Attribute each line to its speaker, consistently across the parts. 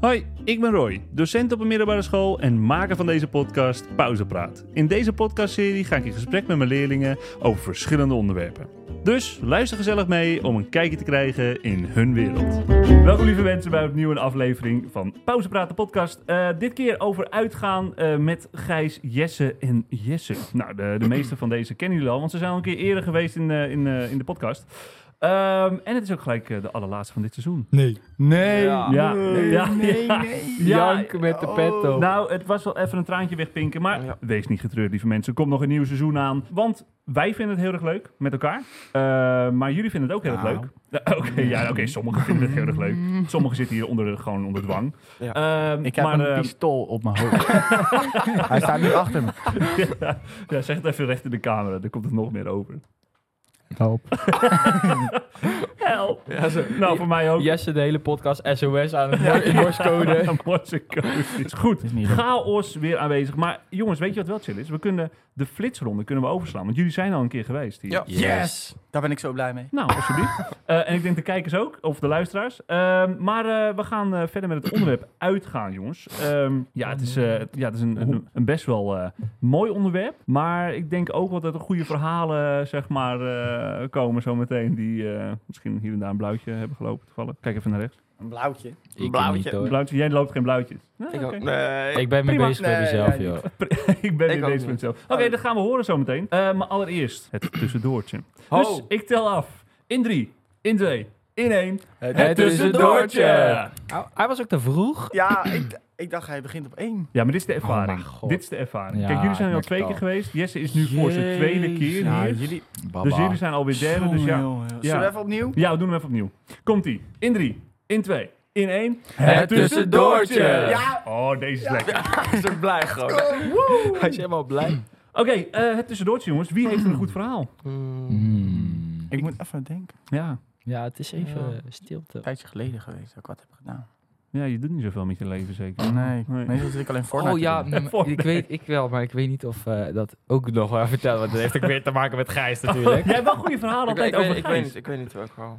Speaker 1: Hoi, ik ben Roy, docent op een middelbare school en maker van deze podcast Pauzepraat. In deze podcastserie ga ik in gesprek met mijn leerlingen over verschillende onderwerpen. Dus luister gezellig mee om een kijkje te krijgen in hun wereld. Welkom lieve mensen bij opnieuw een aflevering van Pauzepraat de podcast. Eh, dit keer over uitgaan eh, met Gijs, Jesse en Jesse. Nou, de, de meeste van deze kennen jullie al, want ze zijn al een keer eerder geweest in, eh, in, eh, in de podcast. Ehm, en het is ook gelijk eh, de allerlaatste van dit seizoen.
Speaker 2: Nee. Nee.
Speaker 3: Ja.
Speaker 1: Ja,
Speaker 2: Nee.
Speaker 1: ja,
Speaker 2: nee,
Speaker 1: ja.
Speaker 2: nee.
Speaker 1: Ja,
Speaker 3: Janken met de
Speaker 2: oh.
Speaker 3: pet op.
Speaker 1: Nou, het was wel even een traantje wegpinken. Maar
Speaker 3: Ja.
Speaker 1: wees niet getreurd, lieve mensen. Er komt nog een nieuw seizoen aan. Want wij vinden het heel erg leuk met elkaar. Eh, maar jullie vinden het ook heel erg
Speaker 2: Nou.
Speaker 1: leuk. Eh, Oké, ja, oké, sommigen vinden het heel erg leuk. Sommigen zitten hier onder, de- gewoon onder dwang.
Speaker 3: Ja.
Speaker 1: Ehm,
Speaker 4: Ik heb
Speaker 1: maar,
Speaker 4: een
Speaker 1: ehm,
Speaker 4: pistool op mijn hoofd.
Speaker 3: Hij staat nu achter me.
Speaker 1: ja, ja, zeg het even recht in de camera. Dan komt het nog meer over.
Speaker 4: Help.
Speaker 1: Help!
Speaker 3: Ja, zo.
Speaker 1: Nou, voor mij ook.
Speaker 3: Jesse de hele podcast SOS aan het mor- in morsecode.
Speaker 1: Morse code. Is Goed,
Speaker 4: Is niet leuk.
Speaker 1: chaos weer aanwezig. Maar jongens, weet je wat wel chill is? We kunnen de flitsronde kunnen we overslaan. Want jullie zijn al een keer geweest hier.
Speaker 2: Ja. Yes. Daar ben ik zo blij mee.
Speaker 1: Nou, alsjeblieft. Eh, en ik denk de kijkers ook, of de luisteraars. Ehm, maar eh, we gaan eh, verder met het onderwerp uitgaan, jongens. Ehm, ja, het is, eh, het- ja, het is een, een, een best wel eh, mooi onderwerp. Maar ik denk ook wel dat er goede verhalen, zeg maar, eh, komen zometeen. Die eh, misschien hier en daar een blauwtje hebben gelopen toevallig. Kijk even naar rechts.
Speaker 2: Een blauwtje.
Speaker 3: Ik niet, hoor.
Speaker 1: Blauwtje, jij loopt geen blauwtjes.
Speaker 5: Ah,
Speaker 1: Nee,
Speaker 2: Ik ook.
Speaker 1: Ah, oké.
Speaker 2: Nee.
Speaker 3: Ik ben mee
Speaker 1: Prima.
Speaker 3: bezig met
Speaker 2: Nee,
Speaker 3: mezelf,
Speaker 2: ja,
Speaker 3: joh.
Speaker 1: ik ben
Speaker 2: ook
Speaker 1: weer bezig
Speaker 2: niet.
Speaker 1: met mezelf. Oké, dat gaan we horen zometeen. Eh, maar allereerst het tussendoortje.
Speaker 2: Ho.
Speaker 1: Dus ik tel af. In drie, in twee, in één.
Speaker 2: Eh,
Speaker 3: Het tussendoortje. Au, Hij was ook te vroeg.
Speaker 2: Ja, ik, ik dacht hij begint op één.
Speaker 1: Ja, maar dit is de ervaring.
Speaker 3: mijn God.
Speaker 1: dit is de ervaring.
Speaker 4: Ja,
Speaker 1: Kijk, jullie zijn
Speaker 4: ik
Speaker 1: al
Speaker 4: merk
Speaker 1: twee
Speaker 4: het
Speaker 1: keer
Speaker 4: al.
Speaker 1: geweest. Jesse is nu voor zijn tweede keer
Speaker 2: Ja,
Speaker 1: hier.
Speaker 2: jullie...
Speaker 4: Baba.
Speaker 1: Dus jullie zijn alweer derde. Dus ja.
Speaker 2: Zullen we even opnieuw?
Speaker 1: ja, we doen hem even opnieuw. Komt-ie. In drie, in twee, in één.
Speaker 3: Het tussendoortje.
Speaker 2: Ja.
Speaker 1: Oh, deze is lekker.
Speaker 3: Hij is ook blij gewoon. Hij is helemaal blij.
Speaker 1: Oké, eh, het tussendoortje, jongens. Wie heeft een goed verhaal?
Speaker 4: Mm.
Speaker 3: Hmm.
Speaker 2: Ik moet even denken.
Speaker 1: Ja.
Speaker 3: Ja, het is even stilte.
Speaker 2: Een tijdje geleden geweest dat ik wat heb gedaan.
Speaker 1: ja, je doet niet zoveel met je leven, zeker.
Speaker 2: Nee,
Speaker 1: Nee.
Speaker 2: meestal zit ik alleen voor.
Speaker 3: Oh ja, nee, maar
Speaker 1: Fortnite.
Speaker 3: ik weet ik wel, maar ik weet niet of eh, dat ook nog wel vertellen. Want dat heeft ook weer te maken met Gijs natuurlijk.
Speaker 1: Jij hebt wel goede
Speaker 5: Oh,
Speaker 1: verhalen altijd over
Speaker 5: ik,
Speaker 1: Gijs.
Speaker 5: weet niet, ik weet niet welk verhaal.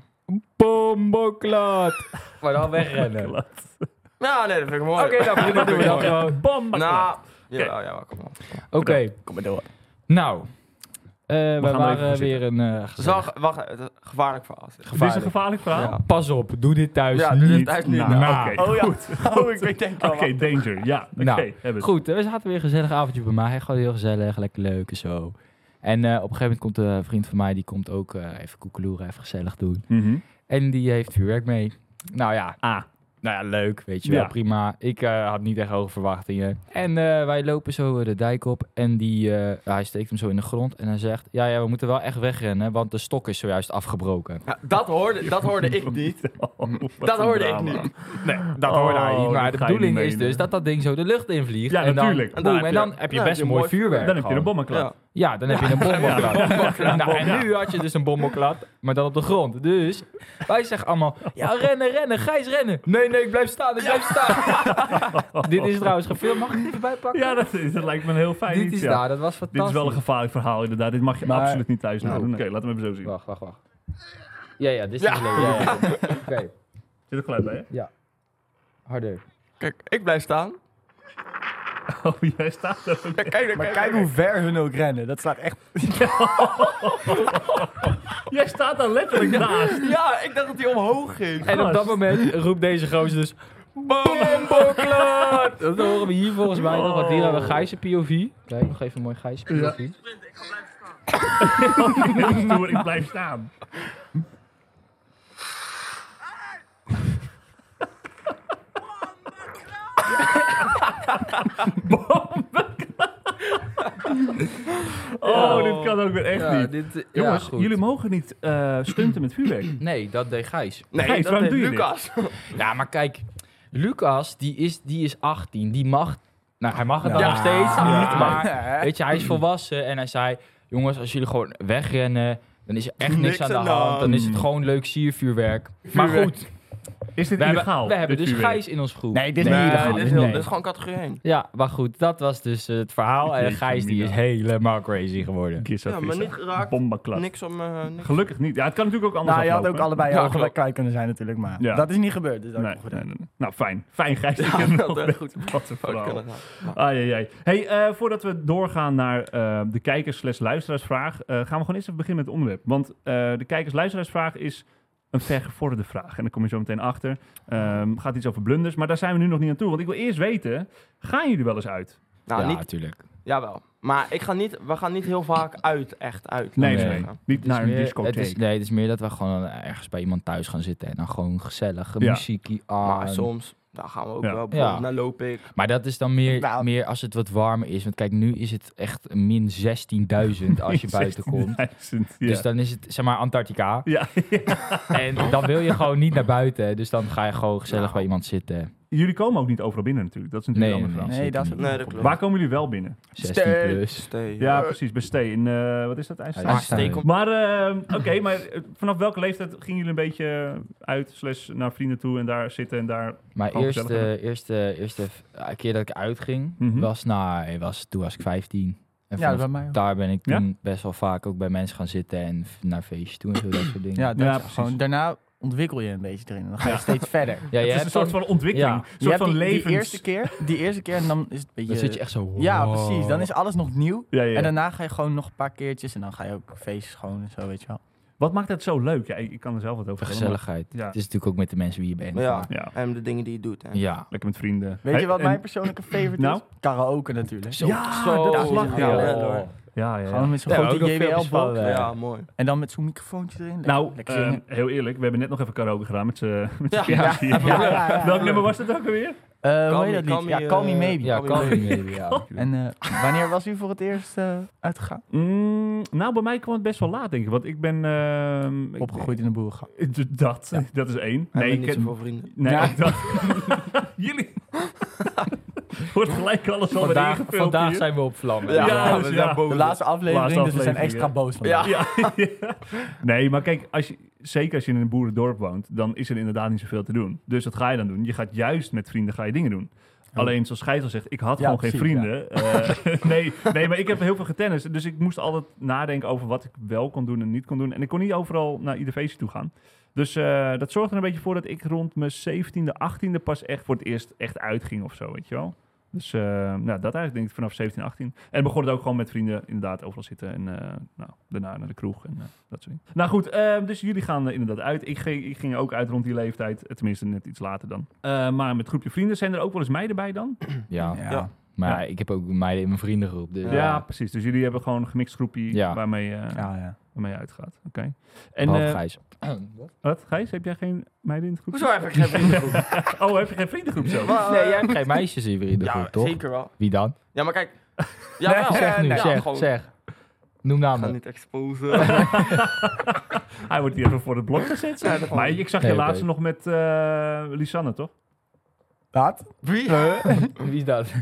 Speaker 3: Bomboklaat. Maar dan wegrennen. Oké,
Speaker 5: Nou, nee, dat vind ik mooi.
Speaker 3: dan beginnen doen we dat gewoon.
Speaker 1: Bam!
Speaker 5: Nou, ja, ja, kom op.
Speaker 3: Oké,
Speaker 2: Kom maar door.
Speaker 3: nou. Eh we
Speaker 1: gaan er even
Speaker 3: waren
Speaker 1: voor
Speaker 3: weer een eh,
Speaker 5: Het is
Speaker 3: gezellig
Speaker 5: wel ge- wacht, het is een gevaarlijk verhaal. zeg.
Speaker 1: Dit is een
Speaker 3: gevaarlijk.
Speaker 1: gevaarlijk verhaal.
Speaker 5: Ja.
Speaker 3: Pas op, doe dit thuis
Speaker 5: Ja, doe dit
Speaker 3: niet.
Speaker 5: thuis niet.
Speaker 1: Nou,
Speaker 3: na.
Speaker 1: oké.
Speaker 2: Oh ja.
Speaker 1: Goed.
Speaker 2: Oh, ik weet denk ik
Speaker 1: Oké,
Speaker 2: al wat.
Speaker 1: danger. Ja, oké.
Speaker 3: Nou,
Speaker 1: hebben we het.
Speaker 3: Goed, eh, we zaten weer een gezellig avondje bij mij. Gewoon heel gezellig, lekker leuk en zo. En eh, op een gegeven moment komt een vriend van mij, die komt ook eh, even koekeloeren, even gezellig doen.
Speaker 1: Mhm.
Speaker 3: En die heeft vuurwerk mee. Nou ja,
Speaker 1: Ah.
Speaker 3: nou ja, leuk, weet je
Speaker 1: Ja.
Speaker 3: wel, prima. Ik eh, had niet echt hoge verwachtingen. En eh, wij lopen zo eh, de dijk op en die, eh, hij steekt hem zo in de grond en hij zegt... Ja, ja, we moeten wel echt wegrennen, want de stok is zojuist afgebroken.
Speaker 5: Ja, dat, hoorde, dat hoorde ik niet.
Speaker 1: Oh, wat
Speaker 5: Dat
Speaker 1: een
Speaker 5: hoorde ik
Speaker 1: drama.
Speaker 5: niet.
Speaker 3: Nee, dat
Speaker 1: hoorde
Speaker 3: hoorde
Speaker 1: hij
Speaker 3: hij
Speaker 1: niet,
Speaker 3: Oh, Maar
Speaker 1: Oh, dat nou, ga je
Speaker 3: de
Speaker 1: niet
Speaker 3: bedoeling is
Speaker 1: menen.
Speaker 3: dus dat dat ding zo de lucht invliegt.
Speaker 1: Ja,
Speaker 3: en dan,
Speaker 1: natuurlijk.
Speaker 3: boem,
Speaker 5: Dan heb
Speaker 3: en
Speaker 5: je-
Speaker 3: dan heb je
Speaker 5: ja,
Speaker 3: best
Speaker 5: je
Speaker 3: een mooi
Speaker 5: mooi
Speaker 3: vuurwerk.
Speaker 1: Dan heb je een
Speaker 3: gewoon.
Speaker 1: bommenklap.
Speaker 5: Ja.
Speaker 3: Ja, dan heb je een bommelklap. nou,
Speaker 1: Ja.
Speaker 3: en nu had je dus een bommelklap, maar dan op de grond. Dus wij zeggen allemaal, ja, rennen, rennen, Gijs, rennen. Nee, nee, ik blijf staan, ik blijf staan. Dit is trouwens gefilmd, mag ik dit erbij pakken?
Speaker 1: Ja, dat, is, dat lijkt me een heel fijn
Speaker 3: Dit
Speaker 1: iets,
Speaker 3: is
Speaker 1: ja.
Speaker 3: daar, dat was fantastisch.
Speaker 1: Dit is wel een gevaarlijk verhaal, inderdaad. Dit mag je
Speaker 3: Maar-
Speaker 1: absoluut niet thuis
Speaker 3: Nou,
Speaker 1: nadoen. Oké,
Speaker 3: nee.
Speaker 1: laten we hem zo zien.
Speaker 3: Wacht, wacht, wacht. Ja, ja, dit is niet leuk. Ja, ja. Oké,
Speaker 1: Zit er geluid bij, hè?
Speaker 3: harder.
Speaker 5: Kijk, ik blijf staan.
Speaker 1: Oh, jij staat er ook.
Speaker 5: Ja, kijk, kijk,
Speaker 2: Maar
Speaker 5: kijk,
Speaker 2: kijk hoe ver hun ook rennen. Dat slaat echt...
Speaker 1: Jij staat daar letterlijk naast.
Speaker 5: Ja, ik dacht dat hij omhoog ging.
Speaker 3: En op dat moment roept deze gozer dus... Bomboklaat! Dat horen we hier volgens mij nog,
Speaker 1: Oh.
Speaker 3: want hier hebben we Gijs' POV. Kijk, nog even een mooi Gijs' POV.
Speaker 1: Heel stoer, ik blijf staan. Oh, dit kan ook weer echt niet.
Speaker 3: dit, ja,
Speaker 1: Jongens,
Speaker 3: goed.
Speaker 1: jullie mogen niet eh, stunten met vuurwerk.
Speaker 3: Nee, dat deed Gijs.
Speaker 5: Nee,
Speaker 1: Gijs,
Speaker 5: dat
Speaker 1: waarom
Speaker 5: deed
Speaker 1: doe je dit?
Speaker 5: Lucas.
Speaker 3: Ja, maar kijk, Lucas, die is, die is 18. Die mag. Nou, hij mag het dan
Speaker 5: Ja.
Speaker 3: nog steeds
Speaker 5: Ja.
Speaker 3: niet. Maar weet je, hij is volwassen en hij zei: Jongens, als jullie gewoon wegrennen, dan is er echt niks,
Speaker 5: Niks
Speaker 3: aan de
Speaker 5: aan de
Speaker 3: hand. Dan is
Speaker 1: hand.
Speaker 3: het gewoon leuk siervuurwerk. Maar
Speaker 5: Vuurwerk.
Speaker 3: goed,
Speaker 1: Is dit
Speaker 3: We
Speaker 1: illegaal?
Speaker 3: hebben, we hebben
Speaker 1: dit
Speaker 3: dus
Speaker 1: vuurwerk?
Speaker 3: Gijs in ons groep.
Speaker 4: Nee, dit is
Speaker 5: Nee,
Speaker 4: niet illegaal.
Speaker 5: dit, is heel, dit is gewoon categorie 1.
Speaker 3: Ja, maar goed, dat was dus eh, het verhaal. En
Speaker 1: Jeetje,
Speaker 3: Gijs die is
Speaker 1: mina.
Speaker 3: helemaal crazy geworden.
Speaker 1: Kies
Speaker 5: Ja, maar niet geraakt. Niks om... eh, niks-
Speaker 1: Gelukkig niet. Ja, het kan natuurlijk ook anders
Speaker 2: Nou, je had ook
Speaker 1: aflopen.
Speaker 2: allebei
Speaker 5: Ja,
Speaker 2: al
Speaker 5: klopt.
Speaker 2: kwijt kunnen zijn natuurlijk, maar
Speaker 1: Ja.
Speaker 2: dat is niet gebeurd. Dus dat
Speaker 1: Nee,
Speaker 2: is goed.
Speaker 1: nee, nee, nee. Nou, fijn. Fijn, Gijs.
Speaker 5: Ja,
Speaker 1: Ik heb
Speaker 5: dat
Speaker 1: nog
Speaker 5: is
Speaker 1: net-
Speaker 5: goed.
Speaker 1: Wat een
Speaker 5: Fout
Speaker 1: verhaal.
Speaker 5: kunnen gaan.
Speaker 1: Ai, ai, ai. Hey, eh, voordat we doorgaan naar eh, de kijkers slash luisteraarsvraag, eh, gaan we gewoon eerst even beginnen met het onderwerp. Want eh, de kijkers luisteraarsvraag is een vergevorderde vraag. En daar kom je zo meteen achter. Ehm, gaat iets over blunders, maar daar zijn we nu nog niet aan toe. Want ik wil eerst weten, gaan jullie wel eens uit?
Speaker 5: Nou,
Speaker 3: ja,
Speaker 5: niet...
Speaker 3: natuurlijk.
Speaker 5: Jawel. Maar ik ga niet... We gaan niet heel vaak uit, echt uit.
Speaker 1: Nee,
Speaker 5: laat ik
Speaker 1: nee,
Speaker 5: zeggen.
Speaker 1: Niet naar een discotheek.
Speaker 3: het is, nee, het is meer dat we gewoon ergens bij iemand thuis gaan zitten en dan gewoon gezellige
Speaker 1: Ja.
Speaker 3: muziekie aan.
Speaker 5: Maar soms, daar gaan we ook
Speaker 1: Ja.
Speaker 5: wel. Bijvoorbeeld
Speaker 3: Ah, Ja.
Speaker 5: naar loop ik.
Speaker 3: Maar dat is dan meer,
Speaker 2: Nou.
Speaker 3: meer als het wat warmer is. Want kijk, nu is het echt min 16.000 als je buiten komt.
Speaker 1: 16.000, ja.
Speaker 3: Dus dan is het, zeg maar, Antarctica.
Speaker 1: Ja.
Speaker 3: En dan wil je gewoon niet naar buiten. Dus dan ga je gewoon gezellig
Speaker 1: Nou.
Speaker 3: bij iemand zitten.
Speaker 1: Jullie komen ook niet overal binnen natuurlijk. Dat is natuurlijk
Speaker 3: Nee,
Speaker 1: een andere
Speaker 3: nee,
Speaker 1: vraag.
Speaker 2: Nee, dat is
Speaker 3: Nee,
Speaker 5: Nee, dat klopt.
Speaker 1: Waar komen jullie wel binnen?
Speaker 3: 16
Speaker 2: Stay.
Speaker 3: plus.
Speaker 5: Stay.
Speaker 1: Ja, precies. Bij Stee in, eh, wat is dat? IJsselstein?
Speaker 3: Ja, dus,
Speaker 5: Ah, Stay komt...
Speaker 1: Maar, eh, oké, maar eh, vanaf welke leeftijd gingen jullie een beetje uit, slash naar vrienden toe en daar zitten en daar...
Speaker 3: Mijn
Speaker 1: Gewoon
Speaker 3: eerste,
Speaker 1: gezellig
Speaker 3: eerste, eerste eh, keer dat ik uitging,
Speaker 1: Mhm.
Speaker 3: was, nou, was toen was ik 15. En
Speaker 2: Ja,
Speaker 3: vanaf
Speaker 2: dat bij mij ook.
Speaker 3: daar ben ik
Speaker 1: Ja?
Speaker 3: toen best wel vaak ook bij mensen gaan zitten en f- naar feestjes toe en zo, dat soort dingen.
Speaker 2: Ja, dat
Speaker 1: Ja,
Speaker 2: is
Speaker 1: precies.
Speaker 2: gewoon, daarna ontwikkel je een beetje erin. Dan ga je steeds verder.
Speaker 3: ja
Speaker 1: het is een soort
Speaker 3: dan-
Speaker 1: van ontwikkeling,
Speaker 3: ja.
Speaker 1: een
Speaker 2: Je
Speaker 1: soort
Speaker 2: hebt
Speaker 1: van
Speaker 2: die,
Speaker 1: levens...
Speaker 2: Die eerste keer, die eerste keer en dan is het een beetje...
Speaker 3: Dan zit je echt zo...
Speaker 2: ja,
Speaker 3: wow.
Speaker 2: precies. Dan is alles nog nieuw.
Speaker 1: Ja, ja, ja.
Speaker 2: En daarna ga je gewoon nog een paar keertjes en dan ga je ook feestjes gewoon en zo, weet je wel.
Speaker 1: Wat maakt dat zo leuk? Ja, ik, ik kan er zelf wat over
Speaker 3: De
Speaker 1: vertellen, maar-
Speaker 3: gezelligheid.
Speaker 1: Ja.
Speaker 3: Het is natuurlijk ook met de mensen wie je bent.
Speaker 5: Ja.
Speaker 3: maar-
Speaker 1: Ja,
Speaker 5: En de dingen die je doet. hè.
Speaker 3: ja.
Speaker 1: lekker met vrienden.
Speaker 2: Weet
Speaker 1: Hey,
Speaker 2: je wat
Speaker 1: en-
Speaker 2: mijn persoonlijke favorite
Speaker 1: Nou?
Speaker 2: is? Karaoke natuurlijk.
Speaker 1: Ja,
Speaker 5: Zo,
Speaker 1: dat
Speaker 5: ja,
Speaker 1: is lachen,
Speaker 5: ja,
Speaker 1: ja.
Speaker 5: ja, hoor.
Speaker 1: Ja, ja, ja.
Speaker 2: Gewoon met zo'n
Speaker 3: Ja, ook nog
Speaker 2: grote
Speaker 3: filmpjes van,
Speaker 2: JBL-blok.
Speaker 3: eh,
Speaker 5: Ja, mooi.
Speaker 2: En dan met zo'n microfoontje erin. Lekker-
Speaker 1: Nou,
Speaker 2: lekker zingen.
Speaker 1: eh, heel eerlijk, we hebben net nog even karaoke gedaan met z'n... met z'n
Speaker 5: Ja,
Speaker 1: viertjes hier.
Speaker 2: Ja, ja, ja.
Speaker 1: Welk nummer was dat ook alweer?
Speaker 2: Eh,
Speaker 5: Call
Speaker 2: hoe heet
Speaker 5: me-
Speaker 2: dat
Speaker 5: call
Speaker 2: lied?
Speaker 5: me,
Speaker 2: Ja, Call Me
Speaker 5: eh,
Speaker 2: Maybe.
Speaker 3: Ja,
Speaker 5: Kan
Speaker 3: kan
Speaker 5: je-
Speaker 3: niet meer, ja.
Speaker 2: En eh, wanneer was u voor het eerst eh, uitgegaan?
Speaker 1: Mm, nou, bij mij kwam het best wel laat, denk ik. Want ik ben... ehm, ik-
Speaker 2: Opgegroeid in een boerengang.
Speaker 1: Dat, dat is één.
Speaker 5: Nee,
Speaker 1: ik
Speaker 5: ik niet
Speaker 1: ken-
Speaker 5: zoveel vrienden.
Speaker 1: Nee,
Speaker 2: Ja.
Speaker 1: ik dacht... Jullie... Wordt gelijk alles al weer
Speaker 3: Vandaag,
Speaker 1: ingevuld
Speaker 3: vandaag
Speaker 1: hier.
Speaker 3: zijn we op vlammen.
Speaker 1: Ja,
Speaker 5: Ja,
Speaker 1: dus
Speaker 5: we
Speaker 1: ja.
Speaker 5: zijn boven.
Speaker 2: De laatste aflevering,
Speaker 1: Laatste
Speaker 2: dus we zijn
Speaker 1: aflevering,
Speaker 2: extra
Speaker 1: ja.
Speaker 2: boos van
Speaker 5: Ja.
Speaker 1: Ja, ja. Nee, maar kijk, als je, zeker als je in een boerendorp woont, dan is er inderdaad niet zoveel te doen. Dus wat ga je dan doen? Je gaat juist met vrienden ga je dingen doen. Alleen, zoals Gijs al zegt, ik had
Speaker 2: Oh. Ja,
Speaker 1: gewoon geen
Speaker 2: precies,
Speaker 1: vrienden. Eh, nee, nee, maar ik heb heel veel getennis. Dus ik moest altijd nadenken over wat ik wel kon doen en niet kon doen. En ik kon niet overal naar ieder feestje toe gaan. Dus eh, dat zorgde er een beetje voor dat ik rond mijn 17e, 18e pas echt voor het eerst echt uitging of zo, weet je wel. Dus eh, nou, dat eigenlijk denk ik vanaf 17, 18. En begon het ook gewoon met vrienden inderdaad overal zitten. En eh, nou, daarna naar de kroeg en eh, dat soort dingen. Nou goed, eh, dus jullie gaan eh, inderdaad uit. Ik ging, ik ging ook uit rond die leeftijd. Eh, Tenminste, net iets later dan. Eh, maar met groepje vrienden zijn er ook wel eens meiden bij dan?
Speaker 3: Ja.
Speaker 2: Ja.
Speaker 5: Ja.
Speaker 3: Maar ja, ik heb ook meiden in mijn vriendengroep. Dus
Speaker 1: Ja,
Speaker 3: ja,
Speaker 1: precies. Dus jullie hebben gewoon een gemixt groepje
Speaker 3: Ja.
Speaker 1: waarmee, eh,
Speaker 2: Ja, ja.
Speaker 1: waarmee je uitgaat. Oké.
Speaker 3: en,
Speaker 1: En eh,
Speaker 3: Gijs.
Speaker 1: wat, Gijs? Heb jij geen meiden in het groepje?
Speaker 5: Hoezo heb ik geen vrienden?
Speaker 1: Oh, heb je geen vriendengroep zo?
Speaker 5: Maar,
Speaker 3: nee,
Speaker 5: eh,
Speaker 3: jij hebt geen meisjes in je vriendengroep,
Speaker 5: Ja,
Speaker 3: toch?
Speaker 5: zeker wel.
Speaker 3: Wie dan?
Speaker 5: Ja, maar kijk. Ja, wel.
Speaker 3: zeg nu,
Speaker 5: Ja,
Speaker 3: zeg,
Speaker 5: gewoon-
Speaker 3: zeg. Noem
Speaker 5: Ik ga
Speaker 3: namen.
Speaker 5: niet exposen.
Speaker 1: Hij wordt hier even voor het blok gezet. zeg.
Speaker 5: Ja, dat
Speaker 1: maar
Speaker 5: wel.
Speaker 1: ik zag
Speaker 3: Nee,
Speaker 1: je
Speaker 3: oké.
Speaker 1: laatst nog met eh Lisanne, toch?
Speaker 2: Wat?
Speaker 5: Wie?
Speaker 3: Wie is dat? Oh,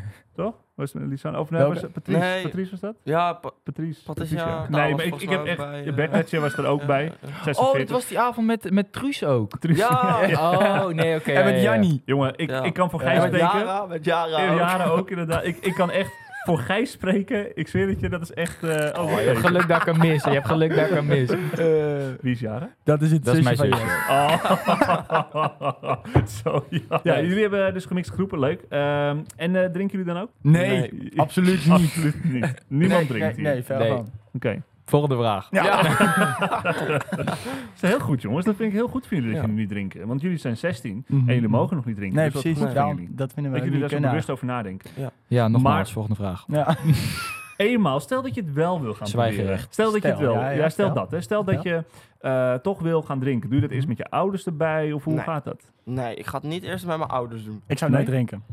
Speaker 1: Toch? Was het Lisanne? Of nee,
Speaker 2: Welke?
Speaker 1: was het Patrice?
Speaker 5: Nee.
Speaker 1: Patrice was dat?
Speaker 5: Ja, pa-
Speaker 1: Patrice.
Speaker 5: Patricia. Nou,
Speaker 1: Nee,
Speaker 5: was
Speaker 1: maar ik,
Speaker 5: volgens
Speaker 1: ik heb
Speaker 5: mij
Speaker 1: echt...
Speaker 5: ook bij,
Speaker 1: je
Speaker 5: eh,
Speaker 1: Bernetje was er ook
Speaker 5: eh,
Speaker 1: bij.
Speaker 5: eh,
Speaker 1: 46.
Speaker 3: Oh, dit was die avond met, met Truus ook.
Speaker 1: Patrice.
Speaker 5: Ja.
Speaker 3: Oh, nee, oké.
Speaker 2: en met
Speaker 3: ja, ja, ja.
Speaker 2: Jannie.
Speaker 1: Jongen, ik,
Speaker 5: Ja.
Speaker 1: ik kan voor
Speaker 5: Ja,
Speaker 1: Gijs
Speaker 5: met
Speaker 1: spreken.
Speaker 5: Jara, met Jara.
Speaker 1: Eh,
Speaker 5: ook.
Speaker 1: Jaren ook inderdaad. Ik, ik kan echt voor Gijs spreken. Ik zweer het je, dat is echt... eh, oh,
Speaker 3: Oh,
Speaker 1: wacht
Speaker 3: je hebt
Speaker 1: even.
Speaker 3: geluk dat ik hem mis. Je hebt geluk dat ik hem mis.
Speaker 1: Wie is Jaren?
Speaker 2: Dat is het
Speaker 3: Dat is mijn
Speaker 2: zusje van
Speaker 3: zusje.
Speaker 1: Oh, zo ja. ja. Jullie hebben dus gemixt groepen, leuk. Ehm, en eh, drinken jullie dan ook?
Speaker 2: je. Nee,
Speaker 1: Nee.
Speaker 2: absoluut niet.
Speaker 1: Absoluut niet. Niemand
Speaker 2: nee,
Speaker 1: drinkt
Speaker 2: nee,
Speaker 1: hier.
Speaker 2: Nee, ver
Speaker 3: Nee.
Speaker 2: van.
Speaker 1: Oké.
Speaker 3: Volgende vraag.
Speaker 5: Ja.
Speaker 1: Dat is heel goed, jongens. Dat vind ik heel goed van jullie dat
Speaker 5: Ja.
Speaker 1: jullie niet drinken. Want jullie zijn 16
Speaker 2: Mhm.
Speaker 1: en jullie mogen nog niet drinken.
Speaker 2: Nee,
Speaker 1: Dus dat
Speaker 2: precies.
Speaker 1: is goed van
Speaker 2: daarom-
Speaker 1: jullie.
Speaker 2: dat vinden we
Speaker 1: Dat
Speaker 2: ook
Speaker 1: jullie daar
Speaker 2: niet
Speaker 1: zo
Speaker 2: kunnen.
Speaker 1: bewust over nadenken.
Speaker 3: Ja, nogmaals,
Speaker 1: Maar-
Speaker 3: volgende vraag.
Speaker 2: Ja.
Speaker 1: Eenmaal, stel dat je het wel wil gaan
Speaker 3: Zwijgerecht.
Speaker 1: proberen. Stel dat je het
Speaker 2: Stel,
Speaker 1: wel. Ja,
Speaker 2: ja, ja, Mhm.
Speaker 1: stel
Speaker 2: stel.
Speaker 1: dat. Hè. Stel dat je eh, toch wil gaan drinken. Doe je dat eerst met je ouders erbij? Of hoe
Speaker 5: Nee.
Speaker 1: gaat dat?
Speaker 5: Nee, ik ga het niet eerst met mijn ouders doen.
Speaker 2: Ik zou
Speaker 1: Nee?
Speaker 2: nooit drinken.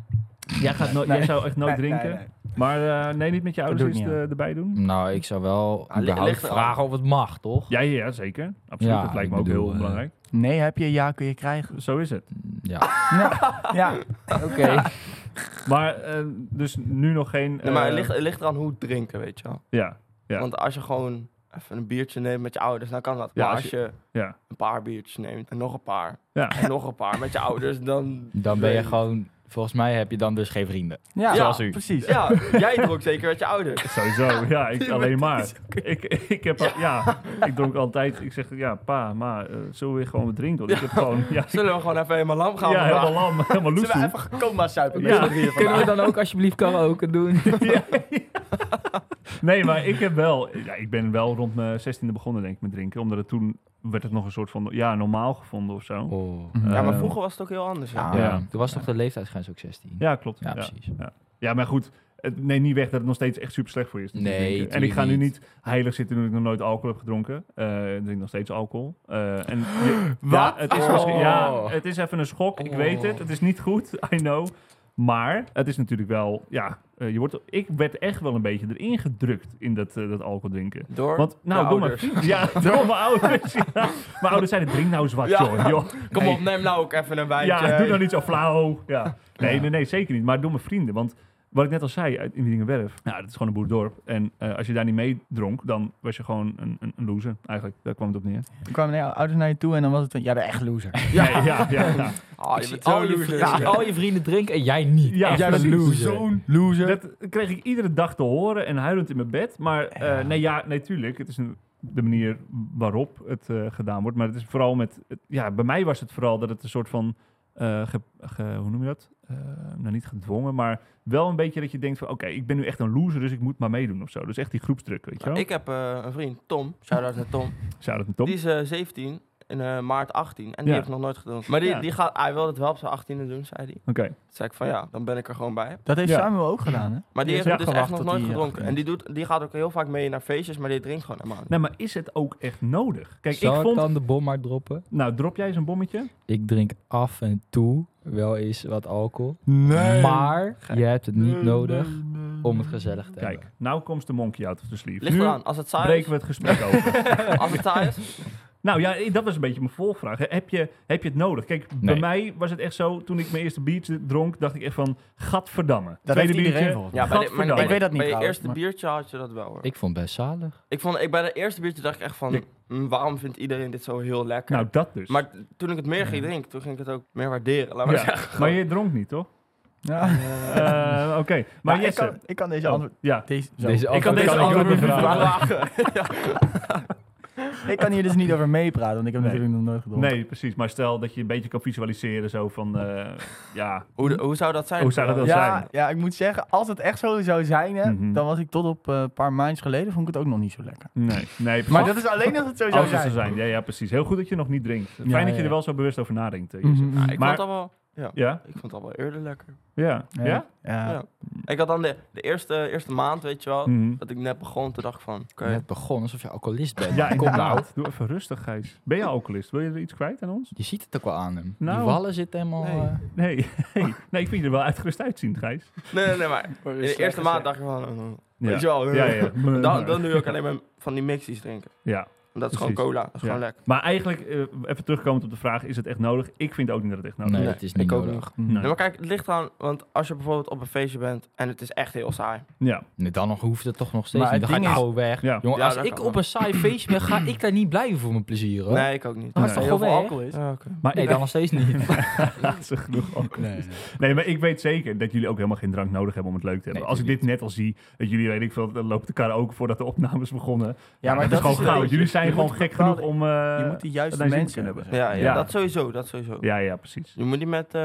Speaker 1: Jij, gaat nooit-
Speaker 2: Nee.
Speaker 1: jij zou echt nooit
Speaker 2: Nee, nee,
Speaker 1: drinken.
Speaker 2: nee.
Speaker 1: Maar eh, nee, niet met je ouders
Speaker 2: doe ik
Speaker 1: eerst
Speaker 2: niet
Speaker 1: eh, erbij doen?
Speaker 3: Nou, ik zou wel
Speaker 5: Ah, li-
Speaker 3: überhaupt
Speaker 5: ligt er al.
Speaker 3: vragen of het mag, toch?
Speaker 1: Ja, ja, ja, zeker. Absoluut.
Speaker 3: Ja,
Speaker 1: dat lijkt me
Speaker 3: ik
Speaker 1: ook
Speaker 3: bedoel,
Speaker 1: heel
Speaker 3: eh,
Speaker 1: belangrijk.
Speaker 2: Nee, heb je ja, kun je krijgen.
Speaker 1: Zo is het.
Speaker 3: Ja.
Speaker 2: Ja,
Speaker 3: Oké.
Speaker 1: Maar eh, dus nu nog geen...
Speaker 5: Nee, maar
Speaker 1: eh,
Speaker 5: het ligt, het ligt eraan hoe drinken, weet je wel.
Speaker 1: Ja. Ja.
Speaker 5: Want als je gewoon eh, even een biertje neemt met je ouders, dan kan dat.
Speaker 1: Ja,
Speaker 5: Maar
Speaker 1: als
Speaker 5: als je
Speaker 1: Ja.
Speaker 5: een paar biertjes neemt en nog een paar
Speaker 1: Ja.
Speaker 5: en nog een paar met je ouders, dan...
Speaker 3: Dan ben je gewoon... Volgens mij heb je dan dus geen vrienden.
Speaker 2: Ja,
Speaker 5: Zoals
Speaker 3: u.
Speaker 2: precies.
Speaker 5: Ja, jij dronk zeker met je ouders.
Speaker 1: Sowieso, ja, ik, alleen maar. Ik, ik heb, al- ja, ik dronk altijd, ik zeg, ja, pa, ma, eh, zullen we weer gewoon wat drinken? Want ik heb gewoon, ja, ik-
Speaker 5: Zullen we gewoon even helemaal lam gaan?
Speaker 1: ja
Speaker 5: vandaag?
Speaker 1: helemaal lam, helemaal
Speaker 5: Zullen we
Speaker 1: loesoe.
Speaker 5: even coma suipen met
Speaker 1: Ja.
Speaker 5: z'n drieën
Speaker 3: Kunnen
Speaker 5: vandaag?
Speaker 3: we dan ook alsjeblieft karaoke doen?
Speaker 1: Nee, maar ik heb wel, ja, ik ben wel rond mijn 16e begonnen, denk ik, met drinken. Omdat het toen werd het nog een soort van, ja, normaal gevonden of zo.
Speaker 3: Oh.
Speaker 5: Ja, maar
Speaker 1: Eh,
Speaker 5: vroeger was het ook heel anders. Ja.
Speaker 3: Ja,
Speaker 1: Ja.
Speaker 3: Toen was toch de leeftijdsgrens ook 16?
Speaker 1: Ja, klopt.
Speaker 3: Ja,
Speaker 1: Ja, ja.
Speaker 3: precies.
Speaker 1: maar goed. het- Nee, niet weg dat het nog steeds echt super slecht voor je is.
Speaker 3: Nee,
Speaker 1: natuurlijk drinken. En ik
Speaker 3: tuurlijk
Speaker 1: ga nu
Speaker 3: niet.
Speaker 1: niet heilig zitten nu ik nog nooit alcohol heb gedronken. Eh, ik drink nog steeds alcohol. Eh, en je-
Speaker 5: Wat?
Speaker 1: Ja, het is
Speaker 5: Oh.
Speaker 1: misschien- ja, het is even een schok. Ik weet het. Het is niet goed. I know. Maar het is natuurlijk wel... Ja, eh, je wordt, ik werd echt wel een beetje erin gedrukt in dat, eh, dat alcohol drinken.
Speaker 5: Door
Speaker 1: Want,
Speaker 5: de
Speaker 1: nou, door mijn
Speaker 5: ouders.
Speaker 1: vrienden. Ja, door mijn ouders. ja. Mijn ouders zeiden, drink nou zwart,
Speaker 5: Ja.
Speaker 1: joh. joh.
Speaker 5: Kom
Speaker 1: Nee.
Speaker 5: op, neem nou ook even een wijntje.
Speaker 1: Ja, doe nou niet zo flauw. Ja. Nee, nee, nee, zeker niet. Maar doe mijn vrienden. Want wat ik net al zei, uit in Wiedingenwerf, nou, dat is gewoon een boerdorp. En eh, als je daar niet mee dronk, dan was je gewoon een, een, een loser eigenlijk. Daar kwam het op neer.
Speaker 2: Toen kwamen jouw ouders naar je toe en dan was het van, jij bent echt loser.
Speaker 1: Ja, ja, ja. ja, ja.
Speaker 5: Ah,
Speaker 3: Ik
Speaker 5: je
Speaker 3: zie
Speaker 5: bent zo
Speaker 3: al, je
Speaker 5: loser.
Speaker 3: vrienden, al je vrienden drinken en jij niet.
Speaker 1: Ja,
Speaker 3: En jij bent
Speaker 1: precies.
Speaker 3: loser.
Speaker 1: Zo'n
Speaker 2: Loser.
Speaker 1: Dat kreeg ik iedere dag te horen en huilend in mijn bed. Maar eh, nee, ja, nee, tuurlijk. Het is een, de manier waarop het eh, gedaan wordt. Maar het is vooral met... het- ja, bij mij was het vooral dat het een soort van... eh, ge- ge- hoe noem je dat? Eh, nou, niet gedwongen, maar wel een beetje dat je denkt van... Oké, ik ben nu echt een loser, dus ik moet maar meedoen of zo. Dus echt die groepsdruk, weet je wel?
Speaker 5: Ik heb eh, een vriend, Tom. Shout-out naar Tom.
Speaker 1: Zou dat een Tom?
Speaker 5: Die is eh, 17 en eh, maart 18. En die
Speaker 1: Ja.
Speaker 5: heeft nog nooit gedronken. Maar die,
Speaker 1: Ja.
Speaker 5: die gaat, hij wilde het wel op zijn 18e doen, zei hij.
Speaker 1: Oké.
Speaker 5: Toen zei ik van ja, dan ben ik er gewoon bij.
Speaker 2: Dat heeft
Speaker 1: Ja.
Speaker 2: Samuel ook gedaan, hè?
Speaker 5: Maar die
Speaker 1: Ja,
Speaker 5: heeft
Speaker 1: ja,
Speaker 5: dus
Speaker 2: gewacht
Speaker 5: echt nog
Speaker 2: tot
Speaker 5: nooit
Speaker 2: die, eh,
Speaker 5: gedronken. En die, doet, die gaat ook heel vaak mee naar feestjes, maar die drinkt gewoon helemaal niet.
Speaker 1: Nou, maar is het ook echt nodig? Kijk,
Speaker 3: Zal
Speaker 1: ik vond...
Speaker 3: dan de bom maar droppen?
Speaker 1: Nou, drop jij eens een bommetje?
Speaker 3: Ik drink af en toe wel eens wat alcohol.
Speaker 2: Nee.
Speaker 3: Maar je hebt het niet nodig om het gezellig te
Speaker 1: Kijk,
Speaker 3: hebben.
Speaker 1: nou komt de monkey out of the sleeve.
Speaker 5: Ligt
Speaker 1: Nou, nu
Speaker 5: eraan, als het saai is.
Speaker 1: breken we het gesprek over.
Speaker 5: Als het saai is.
Speaker 1: Nou ja, eh, dat was een beetje mijn volvraag. He- Heb je, heb je het nodig? Kijk, bij
Speaker 3: Nee.
Speaker 1: mij was het echt zo, toen ik mijn eerste biertje dronk, dacht ik echt van, gadverdamme.
Speaker 2: Dat
Speaker 1: Tweede
Speaker 2: heeft iedereen
Speaker 1: biertje,
Speaker 2: volgens mij.
Speaker 5: Ja, bij de- maar
Speaker 1: Gadverdamme.
Speaker 2: Ik weet dat niet
Speaker 5: Bij je
Speaker 2: trouwens,
Speaker 5: eerste
Speaker 2: maar-
Speaker 5: biertje had je dat wel hoor. Ik,
Speaker 3: Ik vond het best zalig.
Speaker 5: vond, ik, bij de eerste biertje dacht ik echt van,
Speaker 1: Ik-
Speaker 5: "Mm, waarom vindt iedereen dit zo heel lekker?
Speaker 1: Nou, dat dus.
Speaker 5: maar toen ik het meer ging drinken, toen ging ik het ook meer waarderen. Laat maar
Speaker 1: Ja,
Speaker 5: zeggen.
Speaker 1: maar je dronk niet, toch?
Speaker 2: Ja.
Speaker 1: Eh, Oké, maar
Speaker 2: Ja, Nou, ik,
Speaker 1: Jesse.
Speaker 2: kan, ik kan deze
Speaker 1: Oh,
Speaker 2: antwoord...
Speaker 1: ja.
Speaker 2: Deze, zo.
Speaker 3: Deze
Speaker 1: Ik kan
Speaker 3: antwoord
Speaker 1: deze
Speaker 3: ik ook
Speaker 1: antwoord
Speaker 3: niet
Speaker 1: niet
Speaker 3: vragen.
Speaker 2: Ik kan hier dus niet over meepraten, want ik heb
Speaker 1: Nee.
Speaker 2: natuurlijk nog nooit gedronken.
Speaker 1: Nee, precies. Maar stel dat je een beetje kan visualiseren zo van, eh, ja,
Speaker 5: Hoe, de- hoe zou dat zijn?
Speaker 1: Hoe zou dat wel zijn?
Speaker 2: Ja, ja, ik moet zeggen, als het echt zo zou zijn, hè,
Speaker 1: Mhm.
Speaker 2: dan was ik tot op eh, een paar maandjes geleden, vond ik het ook nog niet zo lekker.
Speaker 1: nee. nee precies.
Speaker 2: Maar dat is alleen als het zo zou
Speaker 1: Alles
Speaker 2: zijn.
Speaker 1: zou zijn. Ja, ja, precies. Heel goed dat je nog niet drinkt. Fijn
Speaker 2: Ja,
Speaker 1: dat je
Speaker 2: ja,
Speaker 1: er
Speaker 2: ja.
Speaker 1: wel zo bewust over nadenkt, eh, Jesse.
Speaker 2: Mhm.
Speaker 5: Ja, ik,
Speaker 1: Maar-
Speaker 5: vond dat wel,
Speaker 1: Ja?
Speaker 5: ik vond dat wel eerder lekker.
Speaker 1: Ja? Ja?
Speaker 2: Ja. Ja.
Speaker 5: Ja. Ik had dan de, de eerste, eerste maand, weet je wel,
Speaker 1: Mhm.
Speaker 5: dat ik net begon, toen dacht ik van, oké.
Speaker 3: Net begon alsof je alcoholist bent.
Speaker 1: Ja,
Speaker 3: Kom nou.
Speaker 1: inderdaad. Doe even rustig, Gijs. Ben je alcoholist? Wil je er iets kwijt aan ons?
Speaker 3: Je ziet het ook wel aan hem.
Speaker 1: Nou.
Speaker 3: Die wallen zitten helemaal...
Speaker 5: Nee.
Speaker 3: eh,
Speaker 1: Nee, nee. nee, ik vind je er wel uitgerust uitzien, Gijs.
Speaker 5: Nee, nee, nee, maar in de eerste maand dacht ik van, eh, weet je wel. eh,
Speaker 1: Ja, ja.
Speaker 5: Dan, dan doe je ook alleen maar van die mixies drinken.
Speaker 1: ja.
Speaker 5: En dat is gewoon
Speaker 1: Precies.
Speaker 5: cola, dat is
Speaker 1: Ja.
Speaker 5: gewoon lekker.
Speaker 1: Maar eigenlijk, eh, even terugkomend op de vraag, is het echt nodig? Ik vind ook niet dat het echt nodig
Speaker 3: Nee,
Speaker 5: Nee,
Speaker 3: het is niet
Speaker 5: ik ook
Speaker 3: nodig.
Speaker 2: Mhm.
Speaker 1: is. Nee.
Speaker 5: Nee, maar kijk, het ligt aan, want als je bijvoorbeeld op een feestje bent en het is echt heel saai.
Speaker 1: Ja,
Speaker 3: Nee, dan nog hoeft het toch nog steeds
Speaker 2: Maar
Speaker 3: niet.
Speaker 2: het
Speaker 3: Dan ga ik
Speaker 2: ding is-
Speaker 3: gewoon weg.
Speaker 1: Ja.
Speaker 3: Jongen,
Speaker 5: Ja,
Speaker 3: als
Speaker 5: dat
Speaker 3: ik
Speaker 5: kan
Speaker 3: op
Speaker 5: wel.
Speaker 3: een saai feestje ben, ga ik daar niet blijven voor mijn plezier, hoor.
Speaker 5: Nee, ik ook
Speaker 1: Nee.
Speaker 5: niet.
Speaker 2: Als het
Speaker 1: Nee.
Speaker 2: heel
Speaker 3: Gewoon
Speaker 2: veel
Speaker 3: weg.
Speaker 2: alcohol is.
Speaker 5: Ja, oké.
Speaker 1: maar
Speaker 3: Nee,
Speaker 1: ik,
Speaker 3: dan nog steeds niet.
Speaker 1: dat is genoeg alcohol.
Speaker 4: Nee.
Speaker 1: Nee, maar ik weet zeker dat jullie ook helemaal geen drank nodig hebben om het leuk te hebben.
Speaker 3: Nee,
Speaker 1: Als ik dit net al zie, dat jullie, weet ik veel, dan loopt de karaoke voordat de opnames begonnen.
Speaker 2: Ja, maar
Speaker 1: dat, is
Speaker 2: het
Speaker 1: gewoon goud.
Speaker 2: ding.
Speaker 1: Jullie zijn
Speaker 2: Je
Speaker 1: gewoon
Speaker 2: moet
Speaker 1: gek
Speaker 2: bepaalde-
Speaker 1: genoeg om... eh,
Speaker 2: Je moet de juiste
Speaker 1: dat zien
Speaker 2: mensen
Speaker 1: kunnen
Speaker 2: hebben.
Speaker 5: ja, ja,
Speaker 1: Ja.
Speaker 5: dat sowieso, dat sowieso.
Speaker 1: Ja, ja, precies.
Speaker 5: Je moet niet met eh,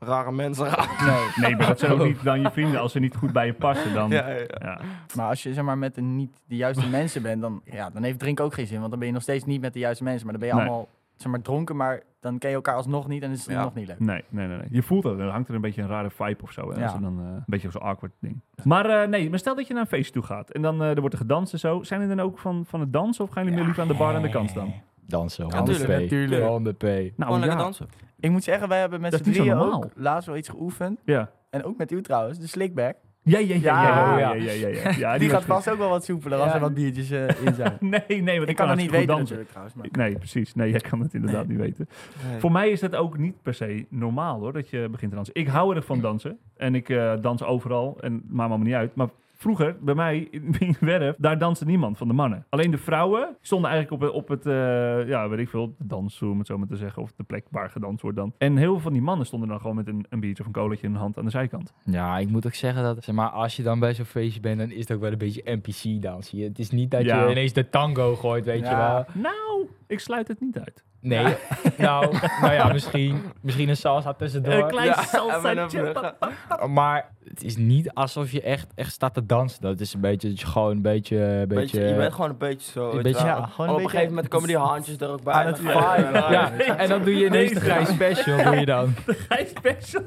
Speaker 5: rare mensen gaan.
Speaker 1: Nee, maar dat zijn ook niet dan je vrienden. Als ze niet goed bij je passen, dan...
Speaker 5: Ja, ja, ja.
Speaker 1: ja.
Speaker 2: Maar als je zeg maar, met de niet de juiste mensen bent, dan, ja, dan heeft drinken ook geen zin. Want dan ben je nog steeds niet met de juiste mensen. Maar dan ben je
Speaker 1: Nee.
Speaker 2: allemaal zeg maar, dronken, maar dan ken je elkaar alsnog niet en is het
Speaker 5: Ja.
Speaker 2: nog niet leuk.
Speaker 1: Nee, nee, nee, nee. Je voelt dat. Er hangt er een beetje een rare vibe of zo. Hè?
Speaker 2: Ja.
Speaker 1: Als er dan, eh, een beetje zo'n awkward ding. Maar eh, nee, maar stel dat je naar een feestje toe gaat. En dan eh, er wordt er gedanst en zo. Zijn er dan ook van, van het dansen? Of gaan jullie meer liever aan de bar aan de kant staan?
Speaker 3: Dansen,
Speaker 5: Ja, tuurlijk,
Speaker 3: 100p.
Speaker 5: tuurlijk.
Speaker 3: 100p.
Speaker 1: Nou
Speaker 5: gewoon lekker dansen.
Speaker 2: Ik moet zeggen, wij hebben met
Speaker 1: Dat
Speaker 2: z'n
Speaker 1: is niet zo
Speaker 2: drieën ook
Speaker 1: normaal.
Speaker 2: laatst wel iets geoefend.
Speaker 1: Ja.
Speaker 2: En ook met u trouwens, de slickback.
Speaker 1: Ja, ja, ja, ja, ja, ja,
Speaker 2: Ja.
Speaker 1: ja, ja, ja.
Speaker 2: Die,
Speaker 1: was
Speaker 2: gaat
Speaker 1: goed.
Speaker 2: vast ook wel wat soepeler als
Speaker 3: Ja.
Speaker 2: er wat biertjes eh, in zijn.
Speaker 1: Nee, nee, want
Speaker 2: ik
Speaker 1: ik
Speaker 2: kan dat niet weten
Speaker 1: dansen.
Speaker 2: natuurlijk trouwens. Maar.
Speaker 1: Nee, precies. Nee, jij kan het inderdaad niet weten.
Speaker 5: Nee.
Speaker 1: Voor mij is dat ook niet per se normaal hoor, dat je begint te dansen. Ik hou erg van dansen en ik eh, dans overal en maakt me allemaal niet uit. Maar Vroeger, bij mij in mijn werf, daar danste niemand van de mannen. Alleen de vrouwen stonden eigenlijk op, op het, eh, ja, weet ik veel, de dansvloer, om het zo maar te zeggen. Of de plek waar gedanst wordt dan. En heel veel van die mannen stonden dan gewoon met een, een biertje of een colaatje in de hand aan de zijkant.
Speaker 3: Ja, ik moet ook zeggen dat, zeg maar, als je dan bij zo'n feestje bent, dan is het ook wel een beetje NPC dan, zie je. Het is niet dat
Speaker 1: Ja.
Speaker 3: je ineens de tango gooit, weet je
Speaker 2: Ja.
Speaker 3: wel.
Speaker 1: Nou, ik sluit het niet uit.
Speaker 3: Nee, nou, nou ja, misschien, misschien een salsa tussendoor.
Speaker 1: Een Eh, klein
Speaker 5: Ja, en
Speaker 1: salsaatje.
Speaker 5: met een vlug.
Speaker 3: Maar het is niet alsof je echt, echt staat te dansen. Dat is een beetje, dat je gewoon een beetje... Een beetje,
Speaker 5: Beetje, je bent gewoon een beetje zo. weet
Speaker 3: beetje-
Speaker 5: je wel.
Speaker 2: ja, gewoon
Speaker 5: En
Speaker 2: een
Speaker 5: op een
Speaker 2: beetje-
Speaker 5: gegeven moment komen die handjes er ook bij.
Speaker 2: Aan het
Speaker 5: Dan ga je-
Speaker 2: vibe.
Speaker 5: Ja.
Speaker 3: ja, en dan doe je ineens de grijs special, doe je dan.
Speaker 1: Gijs Special.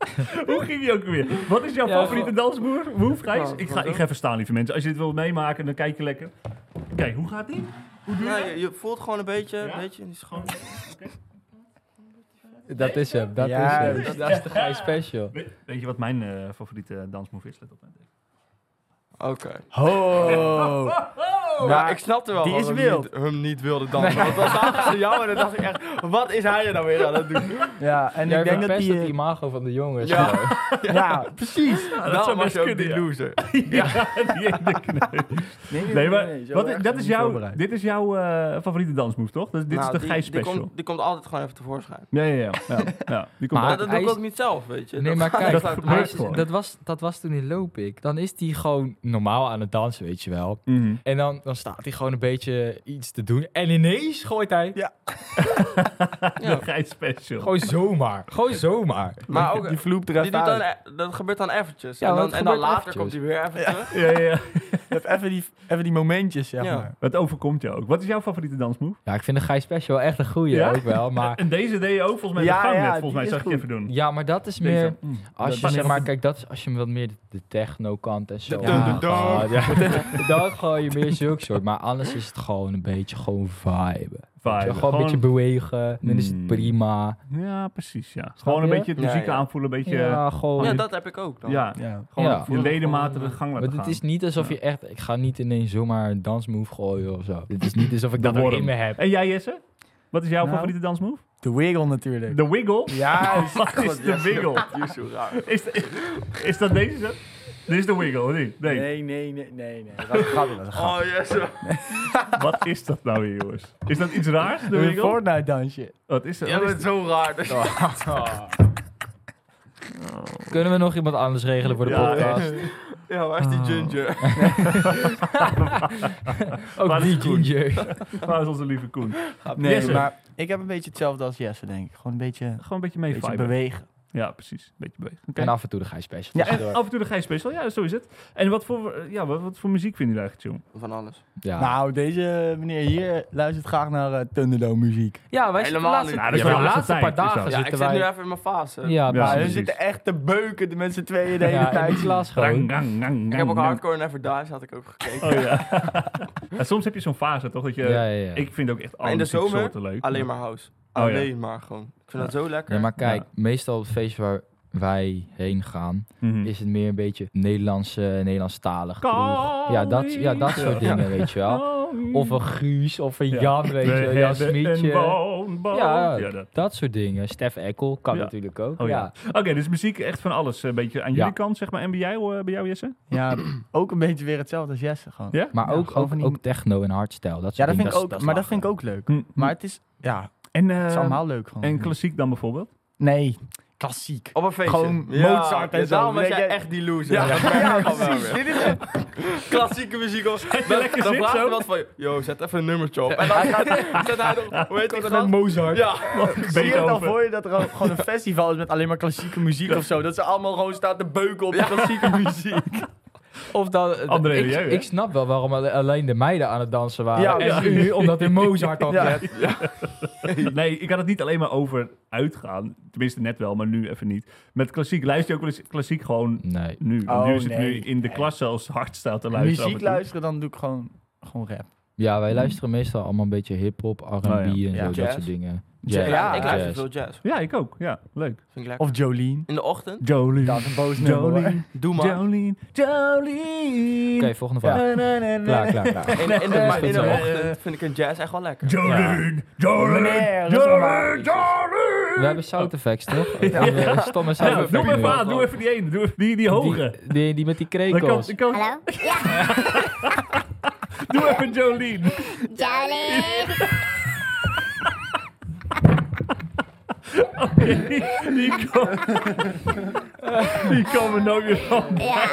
Speaker 1: Hoe ging die ook weer? Wat is jouw
Speaker 3: Ja,
Speaker 1: favoriete dansboer? Move, Gijs?
Speaker 5: Ja,
Speaker 1: Ik ga, ik ga even staan, lieve mensen. Als je dit wilt meemaken, dan kijk je lekker. Kijk, hoe gaat die? Hoe doe je
Speaker 5: Ja,
Speaker 1: dat?
Speaker 5: je, je voelt gewoon een beetje,
Speaker 1: Ja?
Speaker 5: weet je, die is gewoon...
Speaker 3: Dat is hem, dat
Speaker 1: eh,
Speaker 2: Juist.
Speaker 3: is hem. Dat is de grijs special.
Speaker 1: We- Weet je wat mijn eh, favoriete dansmove is? Let op. hè.
Speaker 5: Oké.
Speaker 1: Oh,
Speaker 2: Ho!
Speaker 5: Ja, Oh, ik snapte wel
Speaker 2: die
Speaker 5: dat
Speaker 2: is
Speaker 5: hem
Speaker 2: wild.
Speaker 5: Niet, hem niet wilde dansen. Want dan zagen ze jou en dan dacht ik echt, wat is hij er nou weer aan het doen?
Speaker 2: Ja, en
Speaker 3: Jij
Speaker 2: ik denk dat
Speaker 3: verpest
Speaker 2: die...
Speaker 3: het
Speaker 2: eh,
Speaker 3: imago van de jongens.
Speaker 5: Ja.
Speaker 3: gewoon.
Speaker 2: Ja, precies.
Speaker 1: zou
Speaker 5: Dan was
Speaker 1: best
Speaker 5: je ook
Speaker 1: kunnen,
Speaker 5: die
Speaker 1: ja.
Speaker 5: loser.
Speaker 1: Ja, die ene kneus. Nee, maar
Speaker 2: zo
Speaker 1: wat,
Speaker 2: erg
Speaker 1: dat is
Speaker 2: ben ik niet
Speaker 1: jouw,
Speaker 2: voorbereid.
Speaker 1: dit is jouw eh, favoriete dansmove, toch? Dus dit
Speaker 5: Nou,
Speaker 1: is de
Speaker 5: die-
Speaker 1: Gijs
Speaker 5: die
Speaker 1: Special.
Speaker 5: komt- Die komt altijd gewoon even tevoorschijn.
Speaker 1: Ja, ja, ja. ja, ja. Die komt
Speaker 3: Maar
Speaker 5: Maar
Speaker 1: ook-
Speaker 5: dat
Speaker 3: hij
Speaker 5: doe ik
Speaker 3: is-
Speaker 5: ook niet zelf, weet je.
Speaker 3: Nee, maar
Speaker 5: gaat-
Speaker 3: kijk,
Speaker 5: dat
Speaker 1: dat
Speaker 5: gaat-
Speaker 1: gebeurt
Speaker 3: Hij is-
Speaker 1: gewoon.
Speaker 3: dat, was, dat was toen in Lopik. Dan is die gewoon normaal aan het dansen, weet je wel.
Speaker 1: Mhm.
Speaker 3: En dan, dan staat hij gewoon een beetje iets te doen. En ineens gooit hij
Speaker 5: ja.
Speaker 1: De Gijs Special.
Speaker 3: gewoon zomaar. Gewoon zomaar.
Speaker 5: Maar ook,
Speaker 2: Die vloep
Speaker 5: die
Speaker 2: eruit.
Speaker 5: doet dan, e- dat gebeurt dan eventjes.
Speaker 3: Ja,
Speaker 5: en
Speaker 3: dat
Speaker 5: dan, en dan
Speaker 3: gebeurt
Speaker 5: later
Speaker 3: eventjes.
Speaker 5: komt hij weer even terug.
Speaker 1: Ja, ja, ja.
Speaker 2: even, die, even die momentjes, zeg
Speaker 5: Ja.
Speaker 2: maar.
Speaker 1: Het overkomt je ook. Wat is jouw favoriete dansmove?
Speaker 3: Ja, ik vind de Gijs Special wel echt een goeie
Speaker 1: Ja?
Speaker 3: ook wel. Maar
Speaker 1: En deze deed je ook volgens mij in de
Speaker 2: Ja,
Speaker 1: gang
Speaker 2: ja,
Speaker 1: net. Volgens
Speaker 2: die
Speaker 1: mij
Speaker 2: is
Speaker 1: zag ik je
Speaker 2: goed.
Speaker 1: even doen.
Speaker 3: ja, maar dat is
Speaker 1: Deze.
Speaker 3: meer...
Speaker 1: Mm.
Speaker 3: Als je
Speaker 1: Dat-
Speaker 3: zeg maar, kijk, dat is als je wat meer de, de techno-kant en zo.
Speaker 2: De- de- de-
Speaker 3: Ah, God, ja. Dan gooi je meer zulke soort. Maar anders is het gewoon een beetje gewoon vibe.
Speaker 1: Vibe.
Speaker 3: gewoon, een beetje bewegen. Dan is het
Speaker 1: Mm.
Speaker 3: prima.
Speaker 1: Ja, precies. Ja. gewoon een
Speaker 3: je?
Speaker 1: beetje het muziek
Speaker 5: Ja, ja.
Speaker 1: aanvoelen, een beetje. Ja,
Speaker 3: Ja, gewoon.
Speaker 5: Ja, dat heb ik ook dan.
Speaker 2: Ja.
Speaker 1: gewoon
Speaker 3: Oh, Ja.
Speaker 1: je ledematen de gang
Speaker 3: maar
Speaker 1: laten
Speaker 3: het
Speaker 1: gaan.
Speaker 3: is niet alsof je echt... Ik ga niet ineens zomaar een dansmove gooien of zo. Het is niet alsof ik dat ook
Speaker 1: Worm.
Speaker 3: in me heb.
Speaker 1: En jij, Jesse? Wat is jouw
Speaker 2: Nou.
Speaker 1: favoriete dansmove?
Speaker 2: De wiggle natuurlijk.
Speaker 1: De wiggle? Oh,
Speaker 2: Ja,
Speaker 1: Wat is de wiggle?
Speaker 5: Die is zo raar.
Speaker 1: Is, is dat deze? zo? Dit is de wiggle, of niet? Nee.
Speaker 2: nee, nee, nee, nee. nee. Dat is een grapje, dat is een grapje.
Speaker 5: Oh, yes.
Speaker 1: Wat is dat nou weer, jongens? Is dat iets raars, de
Speaker 2: Een
Speaker 1: wiggle?
Speaker 2: Fortnite dansje.
Speaker 1: Wat is dat?
Speaker 5: Jij
Speaker 1: Wat is
Speaker 5: bent zo raar. Dus.
Speaker 3: Kunnen we nog iemand anders regelen voor de
Speaker 1: Ja,
Speaker 3: podcast?
Speaker 5: Ja, waar is die ginger?
Speaker 1: Maar
Speaker 3: Ook
Speaker 1: dat is
Speaker 3: die
Speaker 1: goed.
Speaker 3: ginger.
Speaker 1: dat? Waar is onze lieve Koen? Gewoon
Speaker 2: Nee,
Speaker 1: Jesse.
Speaker 2: maar ik heb een beetje hetzelfde als Jesse, denk ik. Gewoon een beetje,
Speaker 1: een beetje mee
Speaker 2: beetje
Speaker 1: viben.
Speaker 2: bewegen.
Speaker 1: Ja, precies. Een beetje bewegen. Oké.
Speaker 3: En af en toe de Gijs Special.
Speaker 2: Ja.
Speaker 1: En af en toe de Gijs Special, ja, zo is het. En wat voor, eh, ja, wat, wat voor muziek vinden jullie eigenlijk, jong?
Speaker 5: Van alles.
Speaker 3: Ja.
Speaker 2: Nou, deze meneer hier luistert graag naar eh Thunderdome muziek.
Speaker 3: Ja, wij zitten de
Speaker 5: Helemaal
Speaker 3: laatste,
Speaker 5: niet.
Speaker 1: Ja, dat is
Speaker 3: ja,
Speaker 1: wel
Speaker 3: de
Speaker 1: de
Speaker 3: laatste
Speaker 1: laatste
Speaker 3: paar
Speaker 1: tijd, is
Speaker 3: dagen
Speaker 1: dat.
Speaker 5: Ja, ik
Speaker 3: zitten
Speaker 5: zit
Speaker 3: wij...
Speaker 5: nu even in mijn fase.
Speaker 3: Ja,
Speaker 1: Ja,
Speaker 2: Ja,
Speaker 3: precies.
Speaker 2: hun
Speaker 1: precies.
Speaker 2: zitten echt te beuken de- met z'n tweeën de hele
Speaker 3: Ja, in
Speaker 2: tijd.
Speaker 3: de klas
Speaker 1: Rang,
Speaker 3: gewoon.
Speaker 1: gang, gang,
Speaker 5: Ik heb ook
Speaker 1: gang, gang.
Speaker 5: Hardcore Never Dies, had ik ook gekeken.
Speaker 1: Oh ja. En soms heb je zo'n fase toch dat je.
Speaker 2: eh,
Speaker 3: Ja, ja, ja.
Speaker 1: Ik vind ook echt
Speaker 5: Maar
Speaker 1: alle
Speaker 5: in de
Speaker 1: muziek
Speaker 5: zomer
Speaker 1: soorten leuk.
Speaker 5: Alleen maar house.
Speaker 1: ja.
Speaker 5: Alleen maar gewoon. Ik vind dat zo lekker.
Speaker 3: Ja, maar
Speaker 1: Ja.
Speaker 3: kijk, meestal op het feestje waar wij heen gaan,
Speaker 2: Hm.
Speaker 1: Mhm.
Speaker 3: is het meer een beetje Nederlandse, Nederlandstalig. kroeg.
Speaker 1: Calling.
Speaker 3: Ja, dat, ja, dat soort
Speaker 1: Ja.
Speaker 3: dingen, weet je wel.
Speaker 1: Oh,
Speaker 3: Of een Guus, of een
Speaker 1: ja.
Speaker 3: Jan, weet
Speaker 1: We
Speaker 3: je wel. Jan
Speaker 1: hebben een
Speaker 3: Smitje.
Speaker 1: boom, boom.
Speaker 3: Ja.
Speaker 1: dat.
Speaker 3: Dat soort dingen. Stef Eckel kan
Speaker 1: Ja.
Speaker 3: natuurlijk ook.
Speaker 1: Oh, ja.
Speaker 3: ja.
Speaker 1: Oké, dus muziek echt van alles. Een beetje aan
Speaker 3: Ja.
Speaker 1: jullie kant, zeg maar. En bij jou, eh, bij jou Jesse?
Speaker 2: Ja, ook een beetje weer hetzelfde als Jesse gewoon.
Speaker 1: Ja?
Speaker 3: Maar
Speaker 2: Ja,
Speaker 3: ook,
Speaker 2: gewoon
Speaker 3: ook,
Speaker 2: van die-
Speaker 3: ook techno en hardstyle. Dat soort
Speaker 2: Ja, dat
Speaker 3: dingen,
Speaker 2: vind ik ook,
Speaker 3: is
Speaker 2: maar dat
Speaker 3: lachen.
Speaker 2: vind ik ook leuk.
Speaker 1: Hm.
Speaker 2: Maar het is, ja,
Speaker 1: En, eh,
Speaker 2: het is allemaal leuk gewoon.
Speaker 1: en klassiek dan bijvoorbeeld?
Speaker 2: nee, klassiek.
Speaker 5: Op een feestje.
Speaker 2: Gewoon Mozart en
Speaker 5: ja,
Speaker 2: zo.
Speaker 5: Daarom was
Speaker 2: Denk
Speaker 5: jij
Speaker 2: jij-
Speaker 5: echt die loser. Ja, ja, precies.
Speaker 2: Dit is het.
Speaker 5: Klassieke muziek. Of, dan
Speaker 1: lekker
Speaker 5: dan
Speaker 1: zit
Speaker 5: vraagt
Speaker 1: zo?
Speaker 5: iemand van, yo, zet even een nummertje op. En dan gaat zet hij nog, hoe heet dat dan?
Speaker 2: Mozart. Ja.
Speaker 5: Ja.
Speaker 2: Zie je het al
Speaker 1: Beethoven.
Speaker 2: voor je dat er ook gewoon een festival is met alleen maar klassieke muziek of zo? Dat ze allemaal gewoon staan te beuken op klassieke muziek.
Speaker 3: Of dan,
Speaker 1: André,
Speaker 3: ik,
Speaker 1: jij, hè?
Speaker 3: ik snap wel waarom alle- alleen de meiden aan het dansen waren.
Speaker 2: Ja,
Speaker 3: en u, omdat in Mozart dan
Speaker 2: Ja.
Speaker 1: Nee, ik had het niet alleen maar over uitgaan. Tenminste, net wel, maar nu even niet. Met klassiek luister je ook wel eens klassiek gewoon
Speaker 3: Nee.
Speaker 1: nu.
Speaker 2: Oh,
Speaker 1: nu is het
Speaker 2: nee.
Speaker 1: nu in de klas zelfs hardstyle te luisteren.
Speaker 2: Muziek
Speaker 1: af en toe.
Speaker 2: luisteren, dan doe ik gewoon, gewoon rap.
Speaker 3: Ja, wij luisteren meestal allemaal een beetje hip-hop, R&B
Speaker 1: ja.
Speaker 3: en
Speaker 2: Ja.
Speaker 3: zo, dat
Speaker 5: Jazz.
Speaker 3: soort dingen.
Speaker 2: Jazz.
Speaker 5: Ja,
Speaker 2: Ja,
Speaker 5: ik luister
Speaker 3: jazz.
Speaker 5: veel jazz.
Speaker 1: Ja, ik ook. Ja, leuk.
Speaker 5: Vind ik lekker.
Speaker 2: Of Jolene.
Speaker 5: In de ochtend,
Speaker 1: Jolene.
Speaker 2: Dat is een boos nummer hoor.
Speaker 1: Jolene.
Speaker 5: doe maar.
Speaker 1: Jolene. Jolene.
Speaker 3: Oké, volgende vraag.
Speaker 1: Eh,
Speaker 3: Klaar, klaar, klaar.
Speaker 5: In, in, de,
Speaker 3: Ja,
Speaker 5: in
Speaker 3: goed zo.
Speaker 5: de ochtend vind ik een jazz echt wel lekker.
Speaker 1: Jolene. Jolene.
Speaker 2: Meneer, dat is
Speaker 1: Jolene.
Speaker 2: allemaal-
Speaker 1: Jolene.
Speaker 3: We hebben sound effects, toch? We hebben Stomme sound
Speaker 1: Ja,
Speaker 3: effects.
Speaker 1: doe maar even
Speaker 3: nu.
Speaker 1: aan, doe even die ene, doe even die, die hoge.
Speaker 3: Die, die, die met die
Speaker 1: Dan kan-
Speaker 3: krekels.
Speaker 1: dan kan-
Speaker 6: Hallo? Ja,
Speaker 1: doe even Jolien.
Speaker 6: Jolene.
Speaker 1: Die kan, die kan me nooit meer aan.
Speaker 6: Ja,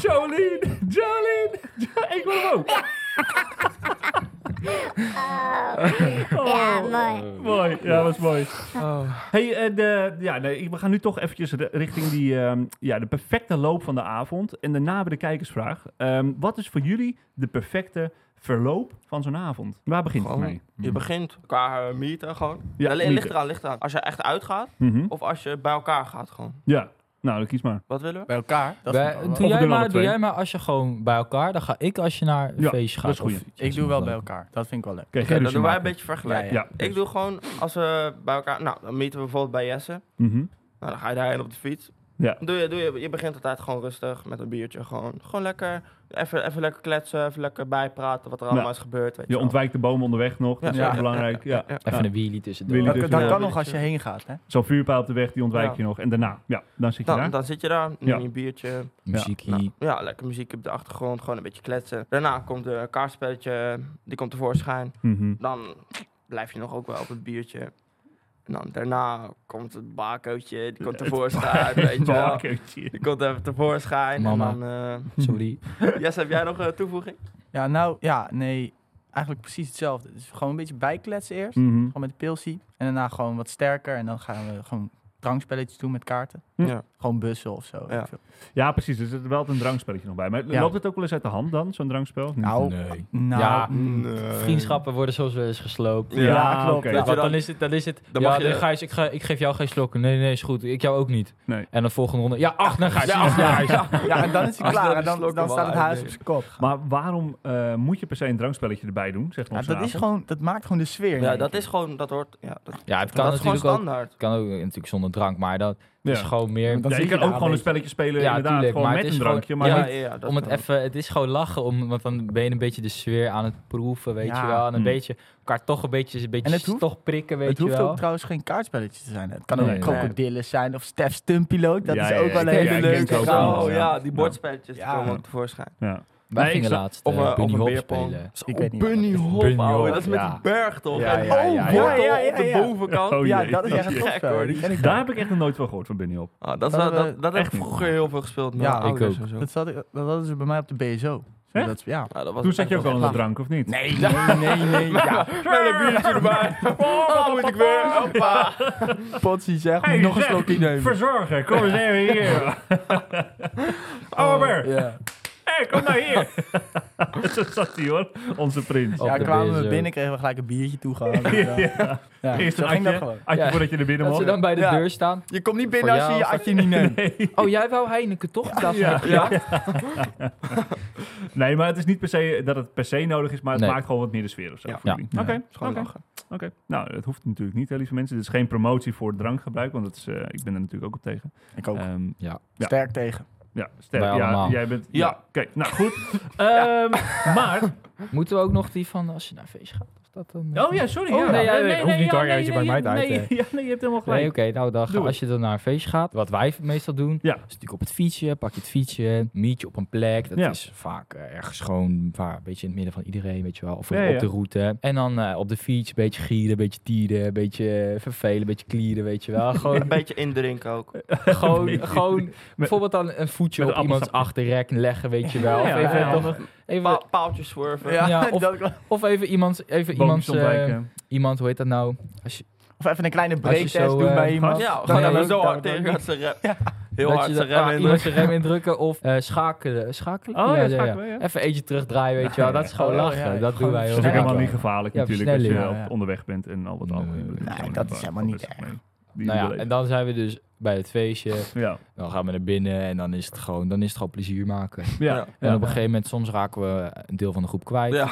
Speaker 1: Jolien, Jolien, Jo- ik wil hem ook.
Speaker 6: ja,
Speaker 1: Oh,
Speaker 6: mooi.
Speaker 1: mooi, ja, was mooi.
Speaker 5: Oh.
Speaker 1: Hey, eh, de, ja, nee, we gaan nu toch eventjes ri- richting die, ehm, ja, de perfecte loop van de avond. En daarna hebben we de kijkersvraag. Ehm, wat is voor jullie de perfecte verloop van zo'n avond? Waar begint het
Speaker 5: Gewoon-
Speaker 1: mee?
Speaker 5: Je begint qua eh, meeten gewoon.
Speaker 1: Ja,
Speaker 5: Ja, ligt
Speaker 1: meeten.
Speaker 5: eraan, ligt eraan. Als je echt uitgaat
Speaker 1: Mhm.
Speaker 5: of als je bij elkaar gaat gewoon.
Speaker 1: Ja, nou, dan kies maar.
Speaker 5: Wat willen we?
Speaker 2: Bij elkaar. Dat
Speaker 3: Bij-
Speaker 2: vind ik wel-
Speaker 3: doe,
Speaker 1: Of doen
Speaker 3: jij
Speaker 1: we alle
Speaker 3: maar, doe
Speaker 1: twee?
Speaker 3: jij maar als je gewoon bij elkaar, dan ga ik als je naar een
Speaker 1: Ja,
Speaker 3: feestje
Speaker 1: dat
Speaker 3: gaat.
Speaker 1: is goed.
Speaker 3: of-
Speaker 2: Ik doe wel bij elkaar. Dat vind ik wel leuk.
Speaker 1: Oké, dus
Speaker 5: Oké,
Speaker 1: okay,
Speaker 5: dan doen wij een beetje vergelijken.
Speaker 1: Ja,
Speaker 5: Ik doe gewoon, als we bij elkaar... Nou, dan meten we bijvoorbeeld bij Jesse.
Speaker 1: Mhm.
Speaker 5: Nou, dan ga je daarheen op de fiets.
Speaker 1: Ja.
Speaker 5: Doe je, doe je, je begint altijd gewoon rustig met een biertje. Gewoon, gewoon lekker, even, even lekker kletsen, even lekker bijpraten wat er allemaal is gebeurd. Weet
Speaker 1: Je
Speaker 5: wel.
Speaker 1: ontwijkt de bomen onderweg nog, dat is
Speaker 5: Ja.
Speaker 1: ook belangrijk. Ja.
Speaker 3: Even een wheelie tussendoor.
Speaker 1: Wheelie.
Speaker 2: Dat,
Speaker 1: dus
Speaker 2: dat
Speaker 5: wel.
Speaker 2: kan nog als je heen gaat, hè?
Speaker 1: Zo'n vuurpijl op de weg, die ontwijk
Speaker 5: Ja.
Speaker 1: je nog. En daarna, ja, dan zit je
Speaker 5: Dan,
Speaker 1: daar.
Speaker 5: dan zit je daar,
Speaker 1: Ja.
Speaker 5: neem je een biertje.
Speaker 3: Muziek
Speaker 5: Nou,
Speaker 3: hier.
Speaker 5: ja, lekker muziek op de achtergrond, gewoon een beetje kletsen. Daarna komt een kaartspelletje, die komt tevoorschijn.
Speaker 1: Mhm.
Speaker 5: Dan blijf je nog ook wel op het biertje. En dan daarna komt het bakootje, die komt tevoorschijn, weet je wel.
Speaker 1: Bakkertje.
Speaker 5: Die komt even tevoorschijn.
Speaker 3: Mama.
Speaker 5: En dan, eh,
Speaker 3: Sorry.
Speaker 5: Jesse, heb jij nog een toevoeging?
Speaker 2: Ja, nou, ja, nee. Eigenlijk precies hetzelfde. Het is gewoon een beetje bijkletsen eerst.
Speaker 5: Mm.
Speaker 1: Mhm.
Speaker 2: Gewoon met de pilsie. En daarna gewoon wat sterker. En dan gaan we gewoon drankspelletjes doen met kaarten.
Speaker 1: Hm.
Speaker 5: Ja.
Speaker 2: Gewoon bussen of zo.
Speaker 5: Ja.
Speaker 2: weet ik veel.
Speaker 1: Ja, precies. Er zit wel altijd een drankspelletje nog bij. Maar
Speaker 2: Ja.
Speaker 1: loopt het ook wel eens uit de hand dan, zo'n drankspel? of niet?
Speaker 2: Nou,
Speaker 3: Nee.
Speaker 2: nou
Speaker 3: Ja.
Speaker 2: mm,
Speaker 5: Oh.
Speaker 3: Vriendschappen worden soms wel eens gesloopt.
Speaker 5: Ja,
Speaker 1: Ja,
Speaker 2: klopt.
Speaker 1: oké.
Speaker 5: Ja.
Speaker 3: Want dan is het, dan is het.
Speaker 5: Dan
Speaker 3: ja,
Speaker 5: mag je-
Speaker 3: nee, Gijs, ik, ga, ik geef jou geen slokken. Nee, nee, is goed. Ik jou ook niet.
Speaker 1: Nee.
Speaker 3: En dan volgende ronde. Ja, acht naar Gijs. Ja, acht naar Gijs.
Speaker 2: Ja, en dan is hij
Speaker 5: Als
Speaker 2: klaar.
Speaker 5: dat
Speaker 2: En
Speaker 5: een
Speaker 2: dan,
Speaker 5: slok
Speaker 2: dan
Speaker 5: wel
Speaker 2: staat het
Speaker 5: uit
Speaker 2: huis
Speaker 5: is.
Speaker 2: op zijn kop.
Speaker 1: Maar waarom eh, moet je per se een drankspelletje erbij doen? Zegt
Speaker 2: Ja,
Speaker 1: ons
Speaker 2: dat, is gewoon, dat maakt gewoon de sfeer. in
Speaker 5: Ja,
Speaker 2: één
Speaker 5: dat
Speaker 2: keer.
Speaker 5: is gewoon, dat hoort, ja, dat,
Speaker 3: Ja, het kan
Speaker 5: dat is gewoon
Speaker 3: natuurlijk ook.
Speaker 5: standaard.
Speaker 3: kan ook eh, natuurlijk zonder drank, maar dat is gewoon meer.
Speaker 2: Want dan
Speaker 1: ja,
Speaker 2: zit
Speaker 1: je kan
Speaker 2: daar
Speaker 1: ook gewoon een
Speaker 2: beetje.
Speaker 1: spelletje spelen,
Speaker 3: Ja,
Speaker 1: inderdaad.
Speaker 3: tuurlijk,
Speaker 1: gewoon
Speaker 3: maar
Speaker 1: met
Speaker 3: het
Speaker 1: een
Speaker 3: is
Speaker 1: drankje.
Speaker 3: gewoon-
Speaker 1: maar
Speaker 5: ja,
Speaker 1: niet-
Speaker 5: ja, dat
Speaker 3: om het
Speaker 5: kan.
Speaker 3: even, het is gewoon lachen, om, want dan ben je een beetje de sfeer aan het proeven, weet
Speaker 2: Ja.
Speaker 3: je wel. En een
Speaker 1: Mm.
Speaker 3: beetje elkaar toch een beetje, een beetje
Speaker 2: En het hoeft-
Speaker 3: toch prikken, weet
Speaker 2: Het
Speaker 3: je
Speaker 2: hoeft
Speaker 3: wel.
Speaker 2: ook trouwens geen kaartspelletje te zijn. Het kan ook
Speaker 1: Nee.
Speaker 2: krokodillen zijn of Stef Stumpiloot. Dat
Speaker 1: Ja,
Speaker 2: is
Speaker 1: ja,
Speaker 2: ook
Speaker 1: ja,
Speaker 2: wel een
Speaker 1: ja,
Speaker 2: hele
Speaker 1: ik ken
Speaker 2: leuke.
Speaker 1: het ook
Speaker 2: kaart.
Speaker 1: wel.
Speaker 5: Oh ja, die
Speaker 1: Ja.
Speaker 5: bordspelletjes die
Speaker 2: Ja.
Speaker 5: komen ook tevoorschijn.
Speaker 1: ja.
Speaker 3: Wij
Speaker 1: Nee, ik
Speaker 3: gingen
Speaker 1: snap-
Speaker 3: laatst
Speaker 5: Of,
Speaker 3: eh,
Speaker 5: eh, of
Speaker 3: Bunny
Speaker 5: een
Speaker 3: Hop
Speaker 5: beerpong.
Speaker 3: spelen.
Speaker 5: Zo,
Speaker 2: Ik weet niet
Speaker 5: Bunny
Speaker 2: wat
Speaker 5: Hop,
Speaker 3: Bunny
Speaker 5: ouwe,
Speaker 3: Hop,
Speaker 5: dat is met
Speaker 3: ja.
Speaker 5: die berg toch?
Speaker 2: Ja,
Speaker 5: En-
Speaker 2: ja, ja,
Speaker 5: oh,
Speaker 2: ja,
Speaker 5: wortel
Speaker 2: ja, ja,
Speaker 5: op de
Speaker 2: ja.
Speaker 5: bovenkant.
Speaker 1: Oh,
Speaker 2: Ja,
Speaker 1: jee.
Speaker 2: dat is echt een
Speaker 5: Gek, hoor,
Speaker 2: topspel.
Speaker 5: die-
Speaker 2: Die ken ik
Speaker 1: Daar
Speaker 2: wel.
Speaker 1: heb ik echt nog nooit van gehoord van Bunny Hop.
Speaker 5: Ah, dat, is,
Speaker 2: Dat
Speaker 5: dat,
Speaker 2: hebben
Speaker 5: dat, dat heb ik
Speaker 1: echt niet.
Speaker 5: vroeger heel veel gespeeld. met
Speaker 2: Ja,
Speaker 5: mijn
Speaker 2: ik
Speaker 5: ouders
Speaker 3: ook.
Speaker 5: en zo.
Speaker 2: Dat, zat ik, dat hadden ze bij mij op de BSO.
Speaker 1: Echt?
Speaker 2: Dus Dat, ja.
Speaker 5: Ja, dat was
Speaker 1: Toen zat
Speaker 5: echt
Speaker 1: je ook
Speaker 5: wel
Speaker 1: al aan de drank, of niet?
Speaker 2: Nee, nee, nee, nee. Ja,
Speaker 5: Met een biertje erbij. Oh, moet ik weer. Hoppa.
Speaker 2: Potsie zegt,
Speaker 1: Hey,
Speaker 2: nog een
Speaker 1: zeg,
Speaker 2: slokje nemen.
Speaker 1: Verzorger, kom eens even hier. Oude Ber,
Speaker 2: Oh, Ja,
Speaker 1: hey, kom nou hier. Zo zat hij hoor, onze prins.
Speaker 3: Op
Speaker 2: ja
Speaker 3: de
Speaker 2: kwamen we
Speaker 3: BSO.
Speaker 2: binnen, kregen we gelijk een biertje toegehaald. Ja. Ja,
Speaker 1: Eerst
Speaker 2: zo
Speaker 1: een
Speaker 2: ging dat
Speaker 1: atje,
Speaker 2: gewoon.
Speaker 1: atje
Speaker 3: Ja.
Speaker 1: voordat je er binnen
Speaker 3: Dat
Speaker 1: mocht.
Speaker 3: ze dan bij de
Speaker 2: Ja.
Speaker 3: deur staan.
Speaker 2: Je komt niet
Speaker 3: Voor
Speaker 2: binnen als je
Speaker 3: jou
Speaker 2: je
Speaker 3: of-
Speaker 2: atje niet neemt.
Speaker 3: Oh, jij wou Heineken toch? Ja.
Speaker 1: Ja.
Speaker 5: Ja.
Speaker 1: Nee, maar het is niet per se dat het per se nodig is, maar het
Speaker 3: Nee.
Speaker 1: maakt gewoon wat meer de sfeer of zo.
Speaker 5: Ja.
Speaker 1: voor
Speaker 3: Ja.
Speaker 1: jullie. Oké,
Speaker 5: is gewoon
Speaker 1: oké,
Speaker 5: lachen.
Speaker 1: oké. Nou, dat hoeft natuurlijk niet, hè, lieve mensen. Dit is geen promotie voor drankgebruik, want dat is, eh, ik ben er natuurlijk ook op tegen.
Speaker 2: Ik ook.
Speaker 1: Ehm, ja.
Speaker 2: Sterk tegen.
Speaker 1: ja, sterk.
Speaker 3: Wij
Speaker 1: Ja,
Speaker 3: allemaal.
Speaker 1: jij bent. Ja.
Speaker 5: Ja.
Speaker 1: Oké, nou goed. Ehm, Maar.
Speaker 3: Moeten we ook nog die van als je naar een feestje gaat? Of dat dan,
Speaker 1: Oh ja, sorry.
Speaker 3: Oh,
Speaker 1: ja.
Speaker 3: nee, ja, dat hoeft niet,
Speaker 1: ja,
Speaker 3: hoor. Weet je, bij mij
Speaker 1: nee,
Speaker 3: het uit,
Speaker 1: ja, nee, je hebt helemaal
Speaker 3: Nee, oké,
Speaker 1: gelijk.
Speaker 3: nou dan ga-
Speaker 1: Doe
Speaker 3: als je dan naar een feestje gaat, wat wij meestal doen,
Speaker 1: Ja.
Speaker 3: is natuurlijk op het fietsje, pak je het fietsje, meet je op een plek. Dat
Speaker 1: Ja.
Speaker 3: is vaak eh, ergens gewoon waar, een beetje in het midden van iedereen, weet je wel, of
Speaker 1: Ja,
Speaker 3: op
Speaker 1: ja.
Speaker 3: de route. En dan eh, op de fiets, een beetje gieren, een beetje tieren, een beetje eh, vervelen, een beetje klieren, weet je wel.
Speaker 5: Een
Speaker 3: Gewoon,
Speaker 5: beetje indrinken ook.
Speaker 3: gewoon, gewoon bijvoorbeeld dan een voetje
Speaker 1: met
Speaker 3: op
Speaker 1: een
Speaker 3: iemands achterrek leggen, weet je wel. Of
Speaker 1: Ja,
Speaker 3: even,
Speaker 1: ja,
Speaker 3: toch-
Speaker 1: handig.
Speaker 3: even,
Speaker 5: Pa- paaltjes swerven.
Speaker 2: Ja,
Speaker 3: Ja, of-
Speaker 2: dat wel.
Speaker 3: of even iemand, even
Speaker 1: Boompjes
Speaker 3: iemand,
Speaker 1: ontwijken.
Speaker 3: iemand, hoe heet dat nou? Als je,
Speaker 2: Of even een kleine breaktest
Speaker 3: zo,
Speaker 2: doen
Speaker 3: eh,
Speaker 2: bij iemand.
Speaker 5: Ja,
Speaker 3: Dan
Speaker 5: gewoon
Speaker 3: heb
Speaker 5: even
Speaker 3: ik
Speaker 5: zo
Speaker 2: dat
Speaker 5: hard
Speaker 2: dan
Speaker 5: tegen
Speaker 2: niet.
Speaker 5: dat ze rem. Heel
Speaker 3: dat
Speaker 5: hard
Speaker 3: je
Speaker 5: ze
Speaker 3: de- ah,
Speaker 5: rem
Speaker 3: iemand
Speaker 5: in.
Speaker 3: zijn rem indrukken of eh, schakelen. Schakelen?
Speaker 1: Oh, ja, schakelen, ja.
Speaker 3: Even eentje terugdraaien, weet je wel. Dat is gewoon
Speaker 2: Oh, ja,
Speaker 3: lachen.
Speaker 2: ja.
Speaker 3: Dat doen
Speaker 2: Gewoon
Speaker 3: wij heel
Speaker 1: Dat is ook
Speaker 2: Ja,
Speaker 1: helemaal
Speaker 3: vaak.
Speaker 1: niet gevaarlijk
Speaker 3: Ja,
Speaker 1: natuurlijk als je
Speaker 3: versnelling.
Speaker 1: op
Speaker 2: Ja, ja.
Speaker 1: onderweg bent en al wat
Speaker 3: Nee.
Speaker 1: andere. dingen.
Speaker 2: Nee,
Speaker 1: gewoon
Speaker 2: dat
Speaker 1: niet
Speaker 2: is
Speaker 1: waar.
Speaker 2: helemaal
Speaker 1: Dat
Speaker 2: niet
Speaker 1: is-
Speaker 2: erg.
Speaker 1: nee. Die
Speaker 3: Nou ja,
Speaker 1: wil
Speaker 3: en dan zijn we dus bij het feestje.
Speaker 1: Ja.
Speaker 3: Dan gaan we naar binnen en dan is het gewoon, dan is het gewoon plezier maken.
Speaker 1: Ja.
Speaker 5: Ja.
Speaker 3: En op een gegeven moment, soms raken we een deel van de groep kwijt.
Speaker 5: Ja.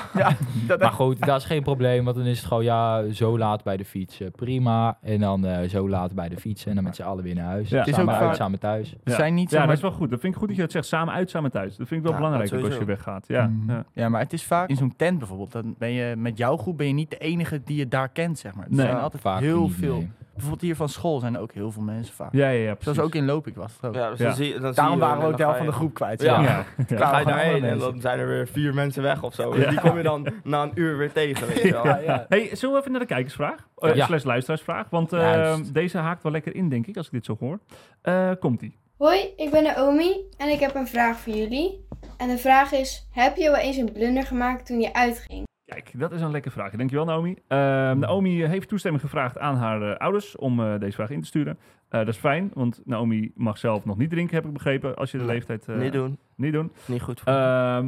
Speaker 3: Maar goed, dat is geen probleem, want dan is het gewoon, ja, zo laat bij de fiets, eh, prima. En dan eh, zo laat bij de fiets en dan met z'n allen weer naar huis.
Speaker 1: Ja. Het is
Speaker 3: samen
Speaker 2: ook
Speaker 3: uit,
Speaker 2: vaak-
Speaker 3: samen thuis.
Speaker 2: We
Speaker 1: Ja.
Speaker 2: zijn niet
Speaker 1: Ja,
Speaker 2: zomaar-
Speaker 1: dat is wel goed. Dat vind ik goed dat je dat zegt. Samen uit, samen thuis. Dat vind ik wel
Speaker 5: Ja,
Speaker 1: belangrijk
Speaker 5: dat
Speaker 1: ook als je
Speaker 5: sowieso.
Speaker 1: weggaat. Ja.
Speaker 3: Mm.
Speaker 4: Mhm.
Speaker 1: ja.
Speaker 2: Ja, maar het is vaak in zo'n tent bijvoorbeeld. Dan ben je met jouw groep ben je niet de enige die je daar kent, zeg maar. Er
Speaker 1: Nee.
Speaker 2: zijn altijd
Speaker 3: Vaak
Speaker 2: heel
Speaker 3: niet,
Speaker 2: veel.
Speaker 3: nee.
Speaker 2: Bijvoorbeeld hier van school zijn er ook heel veel mensen vaak.
Speaker 1: Ja, ja, ja, precies.
Speaker 2: Zoals ook in Lopik was het ook.
Speaker 5: Ja, dus
Speaker 1: Ja.
Speaker 5: Dan zie, dan zie je
Speaker 2: Daarom
Speaker 5: hem en
Speaker 2: waren we ook
Speaker 5: dan
Speaker 2: de helft
Speaker 5: ga
Speaker 2: van
Speaker 5: je-
Speaker 2: de groep kwijt.
Speaker 5: Ja.
Speaker 2: zeg maar.
Speaker 1: Ja. Ja.
Speaker 5: Dan ga je
Speaker 2: gewoon
Speaker 5: daarheen
Speaker 2: allemaal
Speaker 5: en
Speaker 2: mensen.
Speaker 5: dan zijn er weer vier mensen weg of zo. En die kom je dan na een uur weer tegen, weet je wel.
Speaker 1: Hey, zullen we even naar de kijkersvraag? Eh,
Speaker 3: Ja.
Speaker 1: Slash luisteraarsvraag. Want eh,
Speaker 3: Juist.
Speaker 1: deze haakt wel lekker in, denk ik, als ik dit zo hoor. Eh, Komt-ie.
Speaker 6: Hoi, ik ben Naomi en ik heb een vraag voor jullie. En de vraag is, heb je wel eens een blunder gemaakt toen je uitging?
Speaker 1: Kijk, dat is een lekkere vraag. Dankjewel, Naomi. Eh, Naomi heeft toestemming gevraagd aan haar eh, ouders om eh, deze vraag in te sturen. Eh, dat is fijn, want Naomi mag zelf nog niet drinken, heb ik begrepen, als je de leeftijd eh,
Speaker 5: Niet doen,
Speaker 1: niet doen.
Speaker 5: niet goed
Speaker 2: Eh,
Speaker 5: voor Dus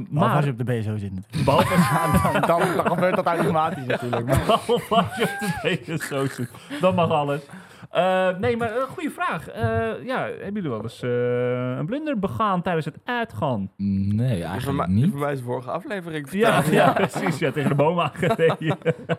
Speaker 1: Ehm,
Speaker 2: Maar als je
Speaker 1: maar,
Speaker 2: op de BSO zit natuurlijk.
Speaker 1: behalve
Speaker 2: dan, dan, dan gebeurt dat automatisch natuurlijk. Maar
Speaker 1: Behalve als je op de BSO zit. Dan mag alles. Eh, nee, maar een goede vraag. Eh, ja, hebben jullie wel eens eh, een blunder begaan tijdens het uitgaan?
Speaker 3: Nee,
Speaker 5: voor,
Speaker 3: eigenlijk
Speaker 5: mij,
Speaker 3: niet.
Speaker 5: voor mij is de vorige aflevering
Speaker 1: Ja,
Speaker 5: verteld.
Speaker 1: ja, precies. Ja, tegen de boom aangereden.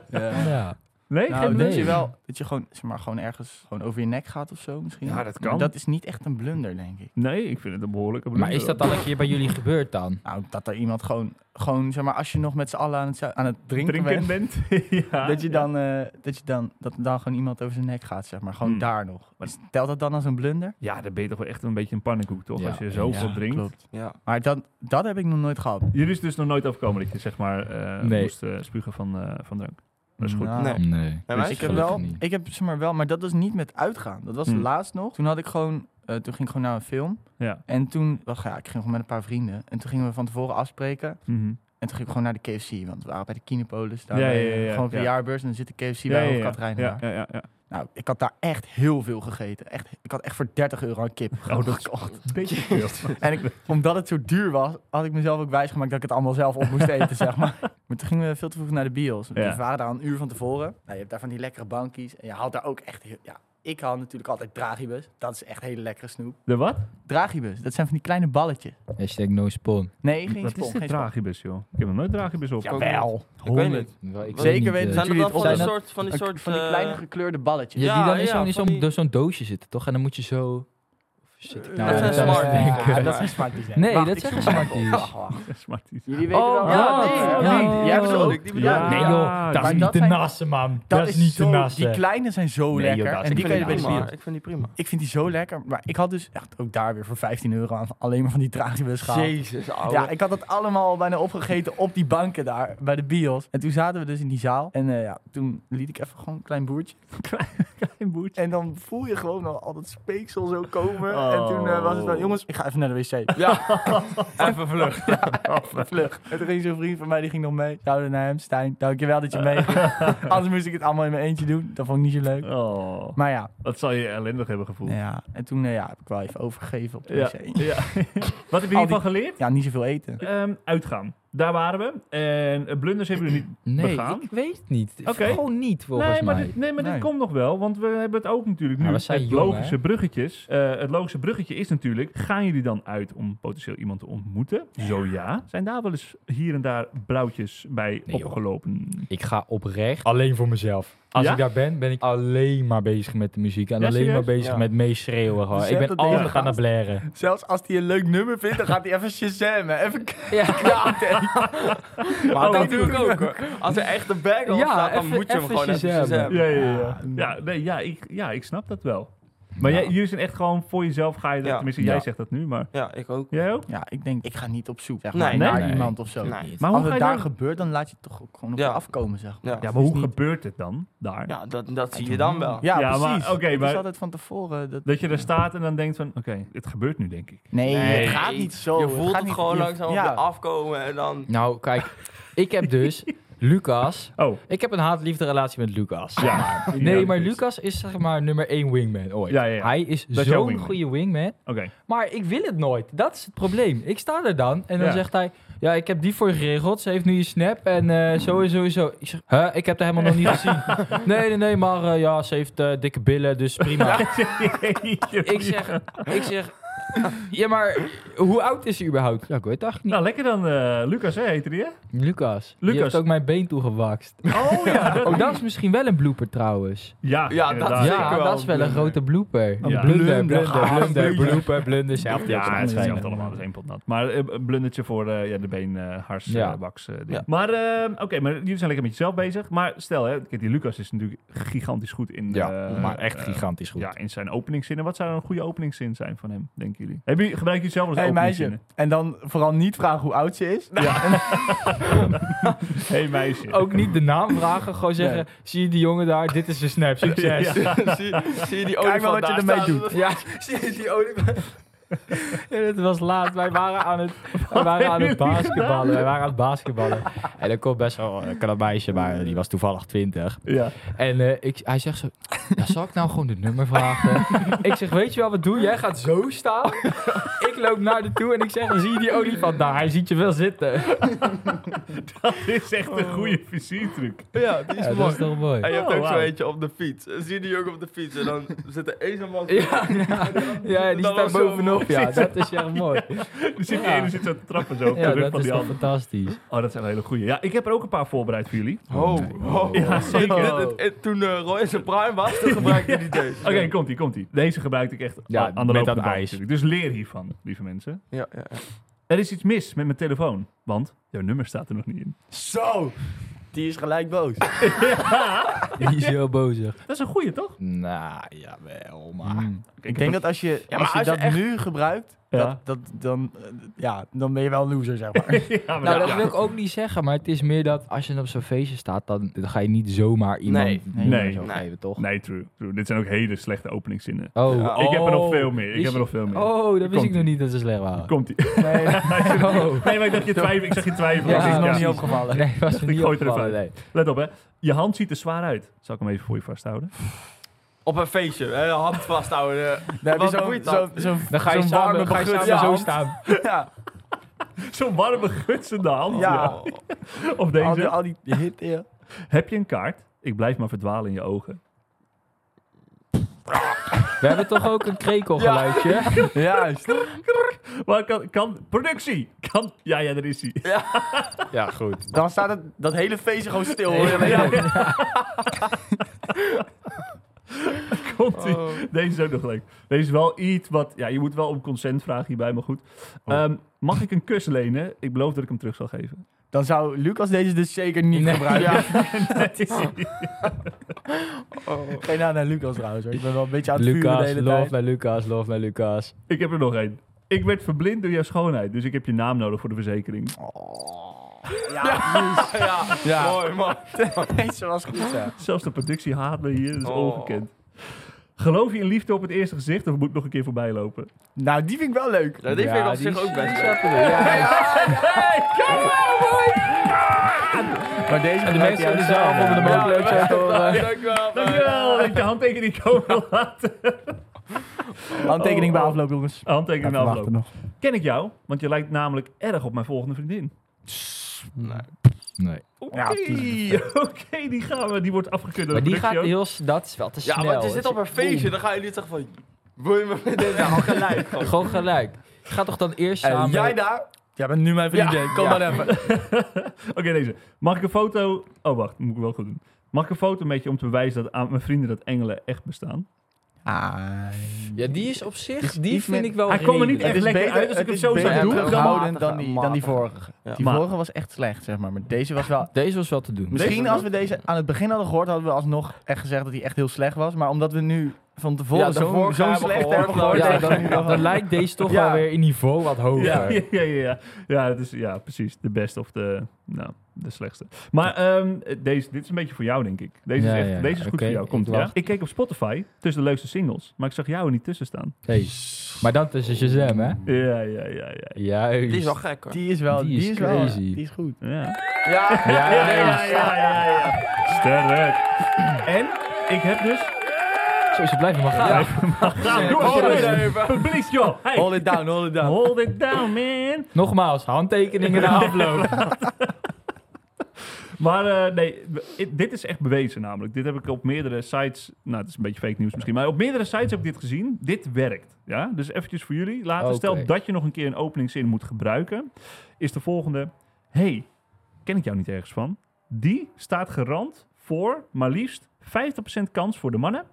Speaker 3: Ja.
Speaker 1: Nee,
Speaker 2: nou,
Speaker 1: geen
Speaker 2: dat
Speaker 1: blunder?
Speaker 2: je wel dat je gewoon, zeg maar, gewoon ergens gewoon over je nek gaat of zo misschien.
Speaker 1: Ja, dat
Speaker 2: Maar
Speaker 1: kan.
Speaker 2: dat is niet echt een blunder, denk ik.
Speaker 1: Nee, ik vind het een behoorlijke blunder.
Speaker 3: Maar is dat dan een keer bij jullie gebeurd dan?
Speaker 2: Nou, dat er iemand gewoon, gewoon zeg maar, als je nog met z'n allen aan het, zu- aan het drinken,
Speaker 1: Drinken
Speaker 2: bent,
Speaker 1: bent? ja.
Speaker 2: dat je dan, eh, dat je dan, dat dan gewoon iemand over zijn nek gaat, zeg maar. Gewoon
Speaker 1: Hmm.
Speaker 2: daar nog.
Speaker 1: Maar-
Speaker 2: Telt dat dan als een blunder?
Speaker 1: Ja, dan ben je toch wel echt een beetje een pannenkoek, toch?
Speaker 3: Ja.
Speaker 1: Als je zoveel
Speaker 2: Ja,
Speaker 1: drinkt.
Speaker 2: klopt.
Speaker 5: Ja.
Speaker 2: Maar dat, dat heb ik nog nooit gehad.
Speaker 1: Jullie is het dus nog nooit overkomen dat je, zeg maar, eh,
Speaker 3: Nee.
Speaker 1: moest eh, spugen van, eh, van drank. Dat is goed.
Speaker 2: Nou,
Speaker 5: Nee.
Speaker 3: Nee. Dus
Speaker 5: En wij-
Speaker 2: ik heb
Speaker 3: gelukkig
Speaker 2: wel,
Speaker 3: niet.
Speaker 2: ik heb zeg maar wel, maar dat was niet met uitgaan. Dat was
Speaker 1: Hmm.
Speaker 2: laatst nog. Toen had ik gewoon, eh, toen ging ik gewoon naar een film.
Speaker 1: Ja.
Speaker 2: En toen, wacht, ja, ik ging gewoon met een paar vrienden. En toen gingen we van tevoren afspreken.
Speaker 1: Mhm.
Speaker 2: En toen ging ik gewoon naar de KFC, want we waren bij de Kinepolis. Daar
Speaker 1: Ja,
Speaker 2: bij,
Speaker 1: ja, ja,
Speaker 2: eh,
Speaker 1: ja,
Speaker 2: gewoon op de
Speaker 1: ja.
Speaker 2: jaarbeurs en dan zit de KFC
Speaker 1: Ja,
Speaker 2: bij
Speaker 1: ja,
Speaker 2: ja,
Speaker 1: ja. Ja,
Speaker 2: Katrijnen.
Speaker 1: ja, ja, ja.
Speaker 2: Nou, ik had daar echt heel veel gegeten. Echt, ik had echt voor 30 euro aan kip
Speaker 1: Oh, dat is
Speaker 2: gekocht.
Speaker 1: een beetje veel.
Speaker 2: En ik, omdat het zo duur was, had ik mezelf ook wijsgemaakt dat ik het allemaal zelf op moest eten, zeg maar. Maar toen gingen we veel te vroeg naar de bios.
Speaker 1: Ja.
Speaker 2: We waren daar een uur van tevoren. Nou, je hebt daar van die lekkere bankies. En je haalt daar ook echt... Heel, ja, ik haal natuurlijk altijd dragibus. Dat is echt hele lekkere snoep.
Speaker 1: De wat?
Speaker 2: Dragibus, dat zijn van die kleine balletjes.
Speaker 3: Hashtag no spawn.
Speaker 2: Nee, geen
Speaker 1: Wat
Speaker 2: spon,
Speaker 1: is dit
Speaker 2: geen spon.
Speaker 1: dragibus, joh? Ik heb nog nooit dragibus op.
Speaker 2: Jawel.
Speaker 5: Ik weet niet.
Speaker 3: Wel, ik
Speaker 5: Zeker
Speaker 3: weet
Speaker 2: weten
Speaker 3: niet, eh,
Speaker 5: Zijn dat
Speaker 2: Jullie het
Speaker 5: dan van die
Speaker 3: opzetten?
Speaker 5: soort, van die soort...
Speaker 2: van die
Speaker 5: eh,
Speaker 2: kleine gekleurde balletjes.
Speaker 3: Ja, die dan
Speaker 5: Ja,
Speaker 3: in
Speaker 5: ja,
Speaker 3: zo'n in
Speaker 5: van
Speaker 3: zo'n-
Speaker 5: die-
Speaker 3: zo'n doosje zitten, toch? En dan moet je zo... Of Zit ik
Speaker 5: Dat
Speaker 3: nou
Speaker 5: zijn
Speaker 3: thuis te
Speaker 5: smart
Speaker 3: denken?
Speaker 5: dingen.
Speaker 2: Ja, dat zijn smarties. hè.
Speaker 3: Nee,
Speaker 2: Wacht,
Speaker 3: dat
Speaker 2: ik
Speaker 3: zijn
Speaker 2: zoek
Speaker 3: geen
Speaker 2: maar
Speaker 3: smarties.
Speaker 2: op. Wacht, wacht.
Speaker 1: Smarties.
Speaker 2: Jullie weten
Speaker 3: Oh,
Speaker 2: wel.
Speaker 5: ja,
Speaker 2: Ja,
Speaker 5: nee,
Speaker 2: nee,
Speaker 5: ja.
Speaker 2: die hebben ze
Speaker 5: bedoel
Speaker 2: ook.
Speaker 5: ik, die bedoel ik.
Speaker 1: Ja.
Speaker 3: Nee joh, dat is
Speaker 2: Maar
Speaker 3: niet
Speaker 2: dat
Speaker 3: te
Speaker 2: zijn-
Speaker 3: nassen, man. Dat,
Speaker 2: Dat
Speaker 3: is niet te
Speaker 2: zo,
Speaker 3: nassen.
Speaker 2: die kleine zijn zo
Speaker 3: Nee, joh,
Speaker 2: lekker.
Speaker 3: dat is
Speaker 2: en die
Speaker 5: Ik
Speaker 2: kan je
Speaker 5: vind
Speaker 2: bij
Speaker 5: die
Speaker 2: de
Speaker 5: prima.
Speaker 2: bios.
Speaker 5: Ik vind die prima.
Speaker 2: Ik vind die zo lekker. Maar ik had dus echt ook daar weer voor 15 euro aan. Alleen maar van die dragibus gehaald.
Speaker 5: Jezus, ouwe.
Speaker 2: Ja, ik had dat allemaal al bijna opgegeten op die banken daar, bij de bios. En toen zaten we dus in die zaal. En eh, ja, toen liet ik even gewoon een klein boertje.
Speaker 1: Klein boertje.
Speaker 2: En dan voel je gewoon al, al dat speeksel zo komen.
Speaker 1: Oh.
Speaker 2: En toen eh, was het wel, jongens, ik ga even naar de wc.
Speaker 5: Ja, even vlug.
Speaker 2: Vlug. En toen ging zo'n vriend van mij, die ging nog mee. Zouden naar hem, Stijn. Dankjewel dat je mee Anders moest ik het allemaal in mijn eentje doen. Dat vond ik niet zo leuk.
Speaker 1: Oh,
Speaker 2: Maar ja,
Speaker 1: wat zal je ellendig hebben gevoeld.
Speaker 2: nou ja. en toen eh, ja, heb ik wel even overgegeven op de
Speaker 1: Ja.
Speaker 2: wc.
Speaker 1: Ja. wat heb je hiervan geleerd?
Speaker 2: Ja, niet zoveel eten.
Speaker 1: Ehm, uitgaan. Daar waren we. En eh, blunders hebben jullie niet
Speaker 3: Nee,
Speaker 1: begaan.
Speaker 3: ik weet het niet.
Speaker 1: Oké.
Speaker 3: Gewoon niet, volgens
Speaker 1: nee, maar
Speaker 3: mij.
Speaker 1: dit, nee, maar dit
Speaker 2: Nee.
Speaker 1: komt nog wel, want we hebben het ook natuurlijk nu.
Speaker 3: Maar we zijn
Speaker 1: het
Speaker 3: jong,
Speaker 1: logische
Speaker 3: hè?
Speaker 1: bruggetjes. Eh, het logische bruggetje is natuurlijk, gaan jullie dan uit om potentieel iemand te ontmoeten? Zo ja. Zijn daar wel eens hier en daar blauwtjes bij
Speaker 3: Nee, joh.
Speaker 1: opgelopen?
Speaker 3: Ik ga oprecht. Alleen voor mezelf. Als
Speaker 1: Ja?
Speaker 3: ik daar ben, ben ik alleen maar bezig met de muziek. En
Speaker 1: Ja,
Speaker 3: alleen maar
Speaker 1: serieus?
Speaker 3: bezig
Speaker 2: Ja.
Speaker 3: met meeschreeuwen. gewoon.
Speaker 2: Dus
Speaker 3: Ik
Speaker 2: jij
Speaker 3: ben
Speaker 2: hebt dat ding
Speaker 3: altijd aan het blaren.
Speaker 2: Zelfs als hij een leuk nummer vindt, dan gaat hij even shazammen. Even
Speaker 3: Ja,
Speaker 5: Maar
Speaker 1: Oh,
Speaker 5: dat doe ik ook hoor. Als er echt een bag op
Speaker 3: Ja,
Speaker 5: staat, dan
Speaker 3: even-
Speaker 5: moet je hem
Speaker 3: even
Speaker 5: gewoon even
Speaker 3: shazammen.
Speaker 5: shazammen.
Speaker 1: Ja, ja, ja. Ja, nee, ja, ik, ja, ik snap dat wel. Maar jij, jullie zijn echt gewoon voor jezelf ga je dat,
Speaker 5: Ja.
Speaker 1: tenminste jij
Speaker 3: Ja.
Speaker 1: zegt dat nu, maar
Speaker 5: Ja, ik ook.
Speaker 1: jij ook?
Speaker 2: Ja, ik denk, ik ga niet op zoek zeg
Speaker 5: Nee,
Speaker 2: maar,
Speaker 5: nee,
Speaker 2: naar
Speaker 3: nee.
Speaker 2: iemand of zo.
Speaker 5: Nee.
Speaker 1: Maar hoe
Speaker 2: Als
Speaker 1: ga
Speaker 2: het
Speaker 1: je
Speaker 2: daar
Speaker 1: dan-
Speaker 2: gebeurt, dan laat je het toch ook gewoon op
Speaker 5: Ja.
Speaker 2: je afkomen, zeg maar.
Speaker 5: Ja,
Speaker 1: Ja,
Speaker 2: Het
Speaker 1: maar
Speaker 2: is
Speaker 1: hoe
Speaker 2: niet-
Speaker 1: gebeurt het dan daar?
Speaker 5: ja dat, dat zie je dan wel.
Speaker 2: Ja,
Speaker 1: Ja, maar-
Speaker 2: precies.
Speaker 1: oké,
Speaker 2: het
Speaker 1: maar-
Speaker 2: is altijd van tevoren. Dat...
Speaker 1: Dat je daar staat en dan denkt van, oké, het gebeurt nu denk ik.
Speaker 2: Nee,
Speaker 5: Nee.
Speaker 2: het gaat niet zo.
Speaker 5: Je voelt
Speaker 2: gaat
Speaker 5: het
Speaker 2: niet-
Speaker 5: gewoon
Speaker 2: je-
Speaker 5: langzaam op
Speaker 2: ja.
Speaker 5: je afkomen en dan...
Speaker 3: Nou, kijk, ik heb dus Lucas.
Speaker 1: Oh,
Speaker 3: Ik heb een haat-liefde relatie met Lucas.
Speaker 1: ja.
Speaker 3: Nee,
Speaker 1: Ja,
Speaker 3: maar
Speaker 1: dus-
Speaker 3: Lucas is zeg maar nummer één wingman ooit.
Speaker 1: Ja, ja, ja.
Speaker 3: Hij is
Speaker 1: is jouw
Speaker 3: zo'n
Speaker 1: wingman.
Speaker 3: goede wingman.
Speaker 1: Oké.
Speaker 3: Maar ik wil het nooit. Dat is het probleem. Ik sta er dan en dan
Speaker 1: Ja.
Speaker 3: zegt hij... Ja, ik heb die voor je geregeld. Ze heeft nu je snap en eh zo en zo en zo. Ik zeg, huh? Ik heb haar helemaal nog niet gezien. Nee, nee, nee, maar eh, ja, ze heeft eh, dikke billen, dus prima. Ik zeg, ik zeg... Ja, maar hoe oud is ze überhaupt? Ja, ik weet het eigenlijk niet.
Speaker 1: Nou, lekker dan, eh, Lucas, hè, heette die, hè?
Speaker 3: Lucas,
Speaker 1: Lucas.
Speaker 3: je hebt ook mijn been toegewakst.
Speaker 1: Oh ja, dat,
Speaker 3: Oh, dat is misschien wel een blooper trouwens.
Speaker 1: ja,
Speaker 5: Ja, dat
Speaker 1: inderdaad.
Speaker 5: is
Speaker 3: ja,
Speaker 5: zeker wel
Speaker 3: dat is wel een
Speaker 5: een
Speaker 3: grote blooper.
Speaker 1: Een Ja.
Speaker 3: blunder, blunder,
Speaker 1: blunder,
Speaker 3: blunder,
Speaker 1: blunder.
Speaker 3: blooper, blunder.
Speaker 1: Ja,
Speaker 3: zelf.
Speaker 1: ja, het is hetzelfde
Speaker 3: hetzelfde
Speaker 1: allemaal, dus één pot nat. Maar eh, een blundertje voor eh, ja, de been, eh hars,
Speaker 3: Ja.
Speaker 1: eh, baks. eh, ding.
Speaker 5: Ja.
Speaker 1: Maar eh, oké, maar jullie zijn lekker met jezelf bezig. Maar stel, hè, kijk, die Lucas is natuurlijk gigantisch goed in...
Speaker 3: Ja,
Speaker 1: eh,
Speaker 3: maar echt
Speaker 1: eh,
Speaker 3: gigantisch goed.
Speaker 1: Ja, in zijn openingszinnen. Wat zou een goede openingszin zijn van hem, denken jullie? Hebben jullie gebruiken jullie zelf als
Speaker 2: Hé hey, meisje.
Speaker 1: openingszinnen?
Speaker 2: En dan vooral niet vragen hoe oud ze is.
Speaker 1: hey, meisje.
Speaker 3: Ook niet de naam vragen, gewoon zeggen, zie je die jongen daar, dit is zijn snap, succes.
Speaker 1: Ja.
Speaker 5: zie, zie je die
Speaker 2: Kijk maar
Speaker 5: olifant
Speaker 2: wat je
Speaker 5: daar
Speaker 2: ermee
Speaker 5: staan?
Speaker 2: doet.
Speaker 3: Ja, zie je die olifant? Ja, het was laat. Wij waren aan het, wij waren aan het
Speaker 1: hebben jullie
Speaker 3: basketballen. Wij waren aan het basketballen. En er komt best wel een knap meisje, maar die was toevallig 20.
Speaker 1: Ja.
Speaker 3: En eh, ik, hij zegt zo, ja, zal ik nou gewoon de nummer vragen? ik zeg, weet je wel wat doe? Jij gaat zo staan. ik loop naar de toe en ik zeg, zie je die olifant daar? Hij ziet je wel zitten.
Speaker 1: Dit is echt een goede visiertruc.
Speaker 5: Ja, die is
Speaker 3: Ja, dat
Speaker 5: mooi.
Speaker 3: is toch mooi.
Speaker 5: En je hebt
Speaker 1: Oh,
Speaker 5: ook zo
Speaker 1: wauw.
Speaker 5: eentje op de fiets. En zie je die ook op de fiets. En dan zit er eens een man...
Speaker 3: Ja, ja, ja, die
Speaker 5: Dat
Speaker 3: staat
Speaker 5: was zo
Speaker 3: bovenop. Ja, dat is echt mooi.
Speaker 1: Er zit die ene zit zo te trappen zo op de
Speaker 3: Ja,
Speaker 1: rug
Speaker 3: dat
Speaker 1: van
Speaker 3: is
Speaker 1: die
Speaker 3: wel
Speaker 1: andere.
Speaker 3: fantastisch.
Speaker 1: Oh, dat zijn wel hele goede. Ja, ik heb er ook een paar voorbereid voor jullie.
Speaker 5: Ho, ho.
Speaker 1: Ja, zeker.
Speaker 5: Dit- dit- dit- toen eh, Roy in zijn prime was, toen gebruikte hij deze.
Speaker 1: Oké, komt-ie, komt-ie. Deze gebruikte ik echt
Speaker 3: Ja,
Speaker 1: ja, aan de loop
Speaker 3: met
Speaker 1: van
Speaker 3: dat
Speaker 1: de band
Speaker 3: ijs.
Speaker 1: natuurlijk. Dus leer hiervan, lieve mensen.
Speaker 5: Ja, ja, ja.
Speaker 1: Er is iets mis met mijn telefoon, want jouw nummer staat er nog niet in.
Speaker 2: Zo! Die is gelijk boos.
Speaker 3: Die is heel bozig. Hmm.
Speaker 1: Dat is een goeie, toch?
Speaker 3: Nou, jawel, maar...
Speaker 2: Ik denk dat als je,
Speaker 5: maar
Speaker 2: als je
Speaker 5: als je
Speaker 2: dat
Speaker 5: echt-
Speaker 2: nu gebruikt,
Speaker 1: Ja.
Speaker 2: dat, dat, dan, eh, ja, dan ben je wel een loser, zeg maar.
Speaker 1: Ja, maar
Speaker 3: Nou,
Speaker 1: ja.
Speaker 3: dat wil ik ook niet zeggen, maar het is meer dat als je op zo'n feestje staat, dan, dan ga je niet zomaar iemand
Speaker 5: Nee.
Speaker 3: een nummer
Speaker 1: Nee.
Speaker 3: zo
Speaker 5: Nee.
Speaker 3: geven, toch?
Speaker 1: Nee, true, true. Dit zijn ook hele slechte openingszinnen.
Speaker 3: Oh,
Speaker 1: Ik heb er nog
Speaker 3: oh.
Speaker 1: veel meer. Ik
Speaker 3: Is-
Speaker 1: heb er nog veel meer.
Speaker 3: Oh, dat wist ik
Speaker 1: Komt-ie.
Speaker 3: nog niet dat ze slecht waren.
Speaker 1: Komt-ie.
Speaker 2: Nee,
Speaker 3: Oh.
Speaker 1: Nee, maar ik dacht je twijfel. Ik zag je twijfelen.
Speaker 3: Ja,
Speaker 1: Ik
Speaker 2: dat is
Speaker 1: denk,
Speaker 2: nog
Speaker 1: ja.
Speaker 2: niet opgevallen.
Speaker 3: Nee, was er
Speaker 1: ik
Speaker 3: niet
Speaker 1: gooi het er even
Speaker 3: opgevallen, nee.
Speaker 1: Let op, hè. Je hand ziet er zwaar uit. Zal ik hem even voor je vasthouden?
Speaker 5: Op een feestje, hè, hand vasthouden.
Speaker 2: Daar heb
Speaker 5: Wat
Speaker 2: je zo'n
Speaker 5: boeit
Speaker 2: zo,
Speaker 5: dat?
Speaker 2: zo,
Speaker 3: Dan ga je
Speaker 2: zo'n warme
Speaker 3: samen, ga je
Speaker 2: begut-
Speaker 3: samen
Speaker 2: ja,
Speaker 3: zo
Speaker 2: hand.
Speaker 3: staan.
Speaker 2: Ja,
Speaker 1: Zo'n warme, gutsende hand.
Speaker 2: ja.
Speaker 5: Oh.
Speaker 1: Op
Speaker 2: Al die,
Speaker 1: deze.
Speaker 2: al die hit, ja.
Speaker 1: Heb je een kaart? Ik blijf maar verdwalen in je ogen.
Speaker 3: We hebben toch ook een krekelgeluidje?
Speaker 2: Juist.
Speaker 1: Maar kan, kan productie? Kan, ja, ja, daar is hij.
Speaker 3: Ja, goed.
Speaker 2: Dan staat het, dat hele feestje gewoon stil.
Speaker 3: Nee,
Speaker 2: hoor.
Speaker 3: ja.
Speaker 1: Komt ie. Deze is ook nog leuk. Deze is wel iets wat... Ja, je moet wel om consent vragen hierbij, maar goed. Ehm, mag ik een kus lenen? Ik beloof dat ik hem terug zal geven.
Speaker 2: Dan zou Lucas deze dus zeker niet
Speaker 3: Nee.
Speaker 2: gebruiken.
Speaker 1: Dat is hij.
Speaker 5: Oh.
Speaker 2: Geen aan nou naar Lucas trouwens hoor. Ik ben wel een beetje aan het vuren de
Speaker 3: Lucas,
Speaker 2: hele
Speaker 3: love
Speaker 2: tijd.
Speaker 3: naar Lucas, love naar Lucas.
Speaker 1: ik heb er nog één. Ik werd verblind door jouw schoonheid, dus ik heb je naam nodig voor de verzekering.
Speaker 5: Ja,
Speaker 2: Ja.
Speaker 5: mooi man.
Speaker 2: Deze was goed zo.
Speaker 1: Zelfs de productie haat me hier, dat is
Speaker 5: Oh.
Speaker 1: ongekend. Geloof je in liefde op het eerste gezicht of moet ik nog een keer voorbij lopen?
Speaker 2: Nou, die vind ik wel leuk.
Speaker 5: Ja, die
Speaker 3: Ja,
Speaker 5: vind ik op
Speaker 3: die
Speaker 5: zich
Speaker 3: is-
Speaker 5: ook best
Speaker 3: die
Speaker 5: leuk.
Speaker 3: snappen we. Ja,
Speaker 2: Maar deze
Speaker 3: de
Speaker 2: gebruik
Speaker 3: mensen
Speaker 2: jij
Speaker 3: in de
Speaker 2: zelf.
Speaker 3: zaal vonden hem ook leuk. zo te horen.
Speaker 5: Dankjewel. man.
Speaker 1: Dankjewel dat ik je handtekening komen wil laten.
Speaker 2: Handtekening bij afloop jongens.
Speaker 1: Handtekening na
Speaker 4: Wacht er
Speaker 1: afloop.
Speaker 4: nog.
Speaker 1: Ken ik jou? Want je lijkt namelijk erg op mijn volgende vriendin.
Speaker 5: Nee.
Speaker 3: Nee.
Speaker 1: Oké,
Speaker 2: Ja,
Speaker 1: oké, die gaan we. Die wordt afgekeurd door
Speaker 3: Maar
Speaker 1: de
Speaker 3: die gaat
Speaker 1: productie ook.
Speaker 3: heel... s- Dat is wel te
Speaker 5: Ja,
Speaker 3: snel.
Speaker 5: want je zit op een feestje, dan gaan jullie toch van... Wil je me met deze nou gelijk? gewoon.
Speaker 3: Gewoon gelijk. Ga toch dan eerst
Speaker 2: En
Speaker 3: samen...
Speaker 2: jij daar? Jij bent nu mijn vriendin.
Speaker 5: Ja.
Speaker 2: Kom
Speaker 5: Ja.
Speaker 2: maar even.
Speaker 1: Oké, deze. Mag ik een foto... Oh, wacht. Moet ik wel goed doen. Mag ik een foto met je om te bewijzen dat aan mijn vrienden dat engelen echt bestaan?
Speaker 2: Ah,
Speaker 3: Ja, die is op zich...
Speaker 2: Is
Speaker 3: die
Speaker 2: iets
Speaker 3: vind
Speaker 2: met-
Speaker 3: ik wel
Speaker 1: Hij komt er niet
Speaker 3: redelijk.
Speaker 1: echt lekker uit als ik hem zo zou
Speaker 5: beter
Speaker 1: doen. Dan...
Speaker 5: gehouden.
Speaker 2: dan, dan, die, dan die vorige.
Speaker 5: Ja.
Speaker 2: Die
Speaker 1: Maar-
Speaker 2: vorige was echt slecht, zeg maar. Maar deze was wel...
Speaker 3: Deze was wel te doen.
Speaker 2: Misschien als we deze aan het begin hadden gehoord, hadden we alsnog echt gezegd dat hij echt heel slecht was. Maar omdat we nu van tevoren
Speaker 5: Ja, de
Speaker 2: zo,
Speaker 5: vorige
Speaker 2: zo
Speaker 5: hebben
Speaker 2: slecht
Speaker 5: gehoord,
Speaker 2: hebben gehoord,
Speaker 5: ja,
Speaker 3: Ja,
Speaker 2: denken we
Speaker 3: dan,
Speaker 2: nu wel van-
Speaker 3: dan lijkt deze toch
Speaker 2: Ja.
Speaker 3: wel weer in niveau wat hoger.
Speaker 1: Ja, ja, ja, ja. Ja, dat is, ja, precies. De best of de... Nou, de slechtste. Maar ehm, deze, dit is een beetje voor jou, denk ik. Deze
Speaker 3: Ja,
Speaker 1: is, echt,
Speaker 3: ja, ja.
Speaker 1: deze is goed
Speaker 3: Oké,
Speaker 1: voor jou.
Speaker 3: ik
Speaker 1: Komt ja?
Speaker 3: wacht.
Speaker 1: Ik keek op Spotify tussen de leukste singles, maar ik zag jou er niet tussen staan.
Speaker 3: Hey. Maar dan tussen Shazam, hè?
Speaker 1: Mm. Ja, ja, ja, ja.
Speaker 3: Juist.
Speaker 5: Die is wel gek hoor.
Speaker 2: Die is wel,
Speaker 3: Die
Speaker 2: die
Speaker 3: is
Speaker 2: is wel-
Speaker 3: crazy.
Speaker 2: die is goed.
Speaker 1: ja.
Speaker 5: Ja,
Speaker 3: Ja,
Speaker 1: Ja, ja, Ah, ja, ja, ja. Sterk. En ik heb dus...
Speaker 3: Zo, ze blijven maar gaan.
Speaker 1: Gaan, doe
Speaker 5: Hold it
Speaker 1: het
Speaker 5: even.
Speaker 1: Publiek, joh. Hey,
Speaker 2: Hold it down, hold it down.
Speaker 1: Hold it down, man.
Speaker 3: Nogmaals, handtekeningen na afloop.
Speaker 1: Maar eh, nee, i- dit is echt bewezen namelijk. Dit heb ik op meerdere sites... Nou, het is een beetje fake nieuws misschien. Maar op meerdere sites heb ik dit gezien. Dit werkt. Ja? Dus eventjes voor jullie. Later,
Speaker 3: Oké.
Speaker 1: stel dat je nog een keer een openingszin moet gebruiken. Is de volgende. hey, ken ik jou niet ergens van? Die staat garant voor maar liefst 50% kans voor de mannen...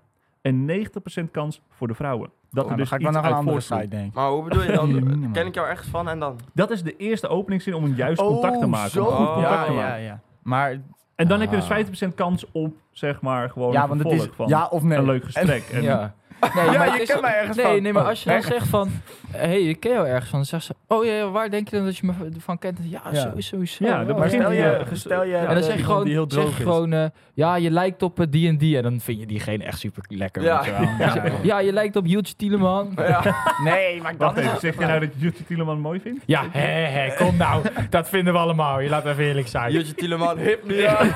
Speaker 1: en 90% kans voor de vrouwen. Dat er
Speaker 2: Nou, dan
Speaker 1: dus
Speaker 2: ga ik wel
Speaker 1: iets
Speaker 2: naar een
Speaker 1: uit
Speaker 2: andere
Speaker 1: voortvloeit.
Speaker 2: site, denk ik.
Speaker 5: Maar hoe bedoel je dan?
Speaker 2: Minimaal.
Speaker 5: Ken ik jou ergens van en dan?
Speaker 1: Dat is de eerste openingszin om een juist contact te maken.
Speaker 2: Oh, Zo.
Speaker 1: Een goed contact
Speaker 2: ja,
Speaker 1: te
Speaker 2: ja,
Speaker 1: maken.
Speaker 2: ja. Maar
Speaker 1: En dan heb je dus 50% kans op, zeg maar, gewoon
Speaker 2: ja,
Speaker 1: een
Speaker 2: want het
Speaker 1: vervolg
Speaker 2: is
Speaker 1: van
Speaker 2: ja of nee.
Speaker 1: een leuk gesprek. En,
Speaker 3: Ja. Nee,
Speaker 5: Ja,
Speaker 3: maar
Speaker 5: je
Speaker 3: het is-
Speaker 5: kent mij ergens
Speaker 3: nee,
Speaker 5: van.
Speaker 3: Nee, maar
Speaker 5: Oh,
Speaker 3: als je dan zegt van... Hé, hey, ik ken jou ergens van. Dan zegt ze... Oh ja, ja, waar denk je dan dat je me v- van kent? Ja,
Speaker 2: Ja.
Speaker 3: sowieso. sowieso
Speaker 1: Ja, dat
Speaker 3: oh,
Speaker 1: begint
Speaker 2: Stel
Speaker 1: hij,
Speaker 2: je,
Speaker 1: eh,
Speaker 2: stel je
Speaker 1: ja.
Speaker 3: En dan zeg je
Speaker 2: iemand die heel
Speaker 3: gewoon, zeg
Speaker 2: droog is.
Speaker 3: gewoon eh, ja, je lijkt op eh, die en die. En dan vind je diegene echt super lekker.
Speaker 5: Ja.
Speaker 3: weet je wel. Dan zeg je, Ja, je lijkt op Jultje Tieleman.
Speaker 5: Ja.
Speaker 2: Nee, maar
Speaker 1: Wacht
Speaker 2: dan is
Speaker 1: even, zeg je nou dat je Jutje Tieleman mooi vindt?
Speaker 3: Ja, hè, hè, kom nou. Dat vinden we allemaal. Je laat even eerlijk zijn.
Speaker 5: Jutje Tieleman, hip nu. Ja.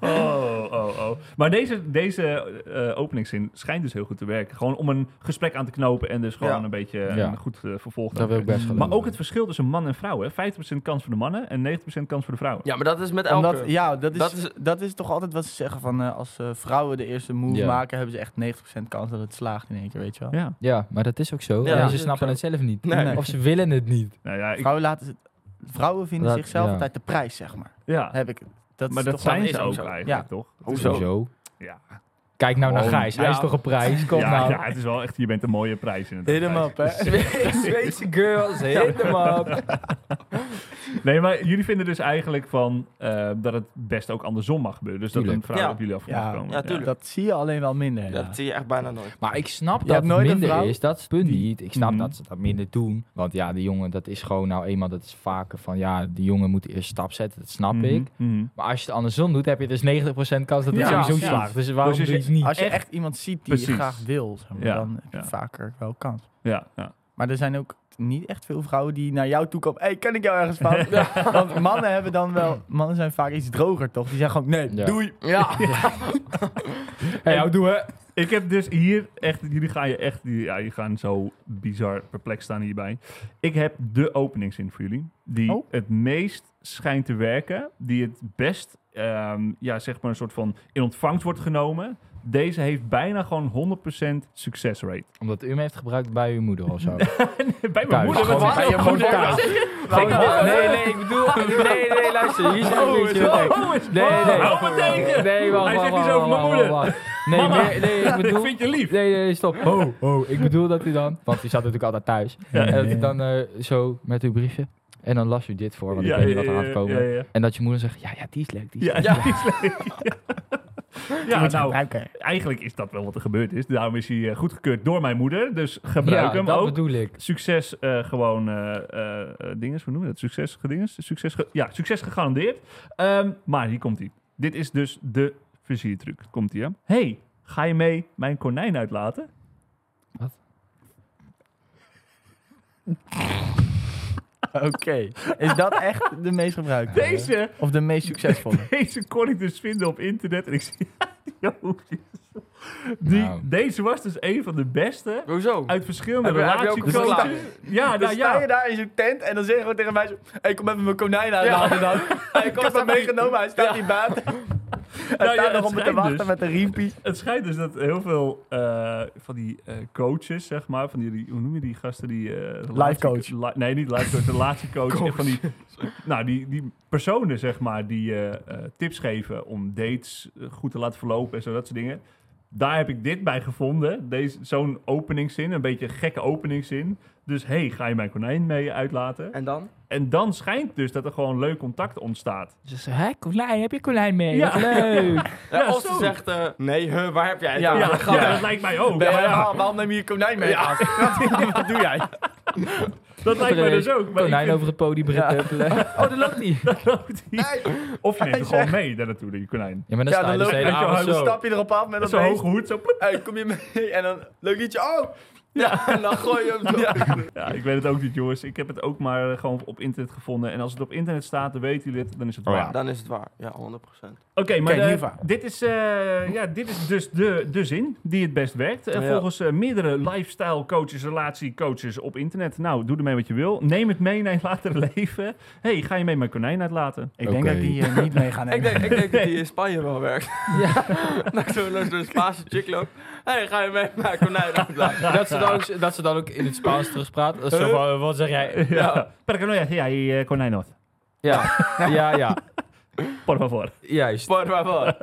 Speaker 1: Oh, oh, oh. Maar deze, deze eh, openingszin schijnt dus heel goed te werken. Gewoon om een gesprek aan te knopen en dus gewoon
Speaker 5: Ja.
Speaker 1: een beetje
Speaker 3: Ja.
Speaker 1: een goed eh, vervolg te
Speaker 3: Dat wil ik
Speaker 1: hebben.
Speaker 3: best geloven.
Speaker 1: Maar ook het verschil tussen man en vrouw. Hè? 50% kans voor de mannen en 90% kans voor de vrouwen.
Speaker 5: ja, maar dat is met elke.
Speaker 2: Omdat, ja, dat is,
Speaker 5: Dat
Speaker 2: dat,
Speaker 5: is-
Speaker 2: is, toch altijd wat ze zeggen van eh, als eh, vrouwen de eerste move
Speaker 3: Ja.
Speaker 2: maken, hebben ze echt 90% kans dat het slaagt in één keer, weet je wel.
Speaker 1: Ja.
Speaker 3: Ja, maar dat is ook zo.
Speaker 5: Ja,
Speaker 3: En
Speaker 5: dat
Speaker 3: ze
Speaker 5: is ook
Speaker 3: snappen het zelf niet.
Speaker 5: Nee.
Speaker 2: Nee.
Speaker 3: Of ze willen het niet.
Speaker 1: Nou ja, ik-
Speaker 2: Vrouwen, laten het, vrouwen vinden
Speaker 3: Dat-
Speaker 2: zichzelf
Speaker 3: ja.
Speaker 2: altijd de prijs, zeg maar.
Speaker 1: ja.
Speaker 2: Heb ik, dat is
Speaker 1: maar dat
Speaker 2: toch wel-
Speaker 1: zijn
Speaker 5: is
Speaker 1: ze
Speaker 5: ook
Speaker 1: ook
Speaker 5: zo.
Speaker 1: eigenlijk,
Speaker 2: Ja.
Speaker 1: toch?
Speaker 5: Hoezo?
Speaker 3: Sowieso.
Speaker 1: Ja.
Speaker 3: Kijk nou naar
Speaker 1: Gewoon-
Speaker 3: Gijs. Hij
Speaker 5: Ja.
Speaker 3: is toch een prijs? Kom
Speaker 1: ja,
Speaker 3: nou.
Speaker 1: ja, het is wel echt, je bent een mooie prijs in het
Speaker 2: Hit hem up, hè.
Speaker 3: Zweedse girls, hit them up.
Speaker 1: Nee, maar jullie vinden dus eigenlijk van eh, dat het best ook andersom mag gebeuren. Dus dat
Speaker 3: Tuurlijk.
Speaker 1: een vrouw
Speaker 5: Ja.
Speaker 1: op jullie af mag
Speaker 2: Ja.
Speaker 1: komen.
Speaker 5: Ja, tuurlijk.
Speaker 2: Dat zie je alleen wel minder.
Speaker 5: Dat
Speaker 2: helaas.
Speaker 5: zie je echt bijna nooit.
Speaker 3: Maar ik snap
Speaker 2: Je
Speaker 3: dat
Speaker 2: hebt
Speaker 3: het
Speaker 2: nooit een
Speaker 3: minder
Speaker 2: vrouw
Speaker 3: is. Dat is het punt
Speaker 1: die-
Speaker 3: niet. Ik snap
Speaker 1: Mhm.
Speaker 3: dat ze dat minder doen. Want ja, die jongen, dat is gewoon nou eenmaal... Dat is vaker van, ja, die jongen moet eerst stap zetten. Dat snap
Speaker 1: Mhm,
Speaker 3: ik.
Speaker 1: mhm.
Speaker 3: Maar als je het andersom doet, heb je dus 90% kans dat het
Speaker 1: Ja,
Speaker 3: sowieso
Speaker 1: ja.
Speaker 3: slaagt. Dus
Speaker 1: Dus
Speaker 3: waarom
Speaker 1: als
Speaker 3: doe je
Speaker 1: je-
Speaker 3: het niet?
Speaker 2: Als je echt, iemand ziet die
Speaker 1: Precies.
Speaker 2: je graag wil, zeg maar,
Speaker 1: Ja,
Speaker 2: dan heb je
Speaker 1: ja.
Speaker 2: vaker wel kans.
Speaker 1: Ja, ja.
Speaker 2: Maar er zijn ook niet echt veel vrouwen die naar jou toe komen. Hé, hey, ken ik jou ergens van? Want mannen hebben dan wel... Mannen zijn vaak iets droger, toch? Die zeggen gewoon, nee,
Speaker 3: Ja.
Speaker 2: doei.
Speaker 5: Ja.
Speaker 3: Hey, hou doen hè?
Speaker 1: Ik heb dus hier echt, jullie gaan je echt, die- ja, jullie gaan zo bizar perplex staan hierbij. Ik heb de openingszin voor jullie, die
Speaker 2: Oh.
Speaker 1: het meest schijnt te werken, die het best, ehm, ja, zeg maar een soort van in ontvangst wordt genomen. Deze heeft bijna gewoon 100% success rate.
Speaker 3: Omdat u hem heeft gebruikt bij uw moeder of zo.
Speaker 1: Bij mijn
Speaker 3: Thuis.
Speaker 1: moeder, wat
Speaker 3: Gewoon
Speaker 1: zeg
Speaker 3: bij je moeder. Thuis.
Speaker 5: Gewoon thuis.
Speaker 3: Nee, nee, ik bedoel... Nee, nee, luister. Hier is het niet zo. Nee,
Speaker 1: Oh, is-
Speaker 3: nee. nee.
Speaker 1: Hou me tegen!
Speaker 3: Nee, wacht,
Speaker 1: Hij
Speaker 3: wacht,
Speaker 1: zegt iets
Speaker 3: wacht,
Speaker 1: over mijn
Speaker 3: wacht,
Speaker 1: moeder.
Speaker 3: wacht, wacht. Nee,
Speaker 1: Mama.
Speaker 3: nee, nee, ik
Speaker 1: Ik
Speaker 3: bedoel...
Speaker 1: vind je lief.
Speaker 3: Nee, nee, nee, stop. Ho, ho. Ik bedoel dat u dan... Want u zat natuurlijk altijd thuis. En dat u dan eh, zo met uw briefje... En dan las u dit voor, want ik weet niet wat er aan te komen.
Speaker 1: Ja, ja,
Speaker 3: En dat je moeder zegt, ja, ja, die is leuk, die is
Speaker 1: ja.
Speaker 3: leuk.
Speaker 1: ja, die is leuk. Ja,
Speaker 2: Moet je
Speaker 1: nou,
Speaker 2: gebruiken.
Speaker 1: eigenlijk is dat wel wat er gebeurd is. Daarom is hij eh, goedgekeurd door mijn moeder. Dus gebruik
Speaker 3: Ja,
Speaker 1: hem
Speaker 3: dat
Speaker 1: ook.
Speaker 3: bedoel ik.
Speaker 1: Succes eh, gewoon eh eh eh, dinges, hoe noemen we dat? Succes gedinges? Succes ge- ja, succes gegarandeerd. Ehm, maar hier komt hij. Dit is dus de versiertruc. Komt hij, hè? hey, ga je mee mijn konijn uitlaten?
Speaker 2: Oké. Is dat echt de meest gebruikte?
Speaker 1: Deze,
Speaker 2: Of de meest succesvolle?
Speaker 1: deze kon ik dus vinden op internet. En ik zie die hoekjes. Die,
Speaker 3: Nou.
Speaker 1: Deze was dus een van de beste
Speaker 5: Hoezo?
Speaker 1: uit verschillende
Speaker 5: Heb je- heb je ook
Speaker 1: relatiecoaches.
Speaker 5: geslaagd?
Speaker 1: Ja, nou
Speaker 2: Dan Dus sta je
Speaker 1: ja.
Speaker 2: daar in zo'n tent en dan zeggen we tegen mij zo... Hé, hey, kom even mijn konijn uitlaten dan. Hey, kom, ik heb hem meegenomen, hij staat hier buiten. Hij
Speaker 1: Nou ja,
Speaker 2: staat
Speaker 1: het
Speaker 2: nog om me te
Speaker 1: schijnt
Speaker 2: wachten
Speaker 1: dus.
Speaker 2: met een riempie.
Speaker 1: Het schijnt dus dat heel veel eh, van die eh, coaches, zeg maar, van die, die- hoe noem je die gasten die... eh, relatie-
Speaker 2: coach.
Speaker 1: li- nee, niet life coach, relatiecoach. En van die, nou, die, die personen, zeg maar, die eh, eh, tips geven om dates eh, goed te laten verlopen en zo, dat soort dingen. Daar heb ik dit bij gevonden. Deze- Zo'n openingszin, een beetje gekke openingszin. Dus, hey, ga je mijn konijn mee uitlaten?
Speaker 5: En dan?
Speaker 1: En dan schijnt dus dat er gewoon leuk contact ontstaat.
Speaker 3: Ze zegt, hè, konijn, heb je konijn mee?
Speaker 1: Ja.
Speaker 3: Wat leuk.
Speaker 5: Ja,
Speaker 1: Ja,
Speaker 5: of ze
Speaker 1: zo.
Speaker 5: zegt, eh, nee, huh, waar heb jij het
Speaker 2: Ja,
Speaker 5: over?
Speaker 1: Ja,
Speaker 5: Ga-
Speaker 1: ja, dat lijkt mij ook.
Speaker 2: Ben
Speaker 1: Ja,
Speaker 2: jij-
Speaker 1: ja.
Speaker 2: waarom neem je je konijn mee?
Speaker 5: Ja.
Speaker 2: Wat doe jij?
Speaker 1: Dat lijkt mij dus ook. Maar ik
Speaker 3: Konijn
Speaker 1: vind-
Speaker 3: over het podium ja. Oh, daar loopt hij.
Speaker 1: Of je neemt hem gewoon mee daar naartoe, die konijn.
Speaker 3: Ja, maar dan
Speaker 2: Ja,
Speaker 3: sta
Speaker 2: dan
Speaker 3: je dus
Speaker 2: loop
Speaker 3: de
Speaker 2: je,
Speaker 3: hele
Speaker 1: weet je wel,
Speaker 3: avond
Speaker 2: dan
Speaker 3: zo.
Speaker 2: stap je erop af met
Speaker 1: Zo'n
Speaker 2: opeens...
Speaker 1: hoge hoed, zo plop.
Speaker 2: Hey, kom je mee? En dan, leuk liedje, oh!
Speaker 5: Ja, en dan gooi je hem door.
Speaker 1: Ja, ik weet het ook niet, jongens. Ik heb het ook maar eh, gewoon op internet gevonden. En als het op internet staat, dan weten jullie het, dan is het
Speaker 2: Oh ja.
Speaker 1: waar.
Speaker 5: Dan is het waar. Ja, 100%.
Speaker 1: Oké, maar
Speaker 2: Kijk,
Speaker 1: de-
Speaker 2: Niva.
Speaker 1: dit, is, eh, ja, dit is dus de, de zin die het best werkt. Eh,
Speaker 5: Ja.
Speaker 1: Volgens eh, meerdere lifestyle coaches, relatiecoaches op internet. Nou, doe ermee wat je wil. Neem het mee naar je latere leven. hey, ga je mee mijn konijn uitlaten?
Speaker 2: Ik denk dat die eh, niet mee gaan
Speaker 5: Ik
Speaker 2: nemen.
Speaker 5: denk, ik denk dat die in Spanje wel werkt. Ja. dat zo'n langs zo'n Spaanse chick loopt. Hé, hey, ga je mee naar konijn uitlaten?
Speaker 3: Dat ze, dan ook, dat ze dan ook in het Spaans terugpraat. Dat is zo van, eh, wat zeg jij?
Speaker 1: Ja. Per que no haya- ja, y, eh, konijn hoor.
Speaker 3: Ja, ja, ja.
Speaker 1: Por favor.
Speaker 3: Juist.
Speaker 5: Por favor.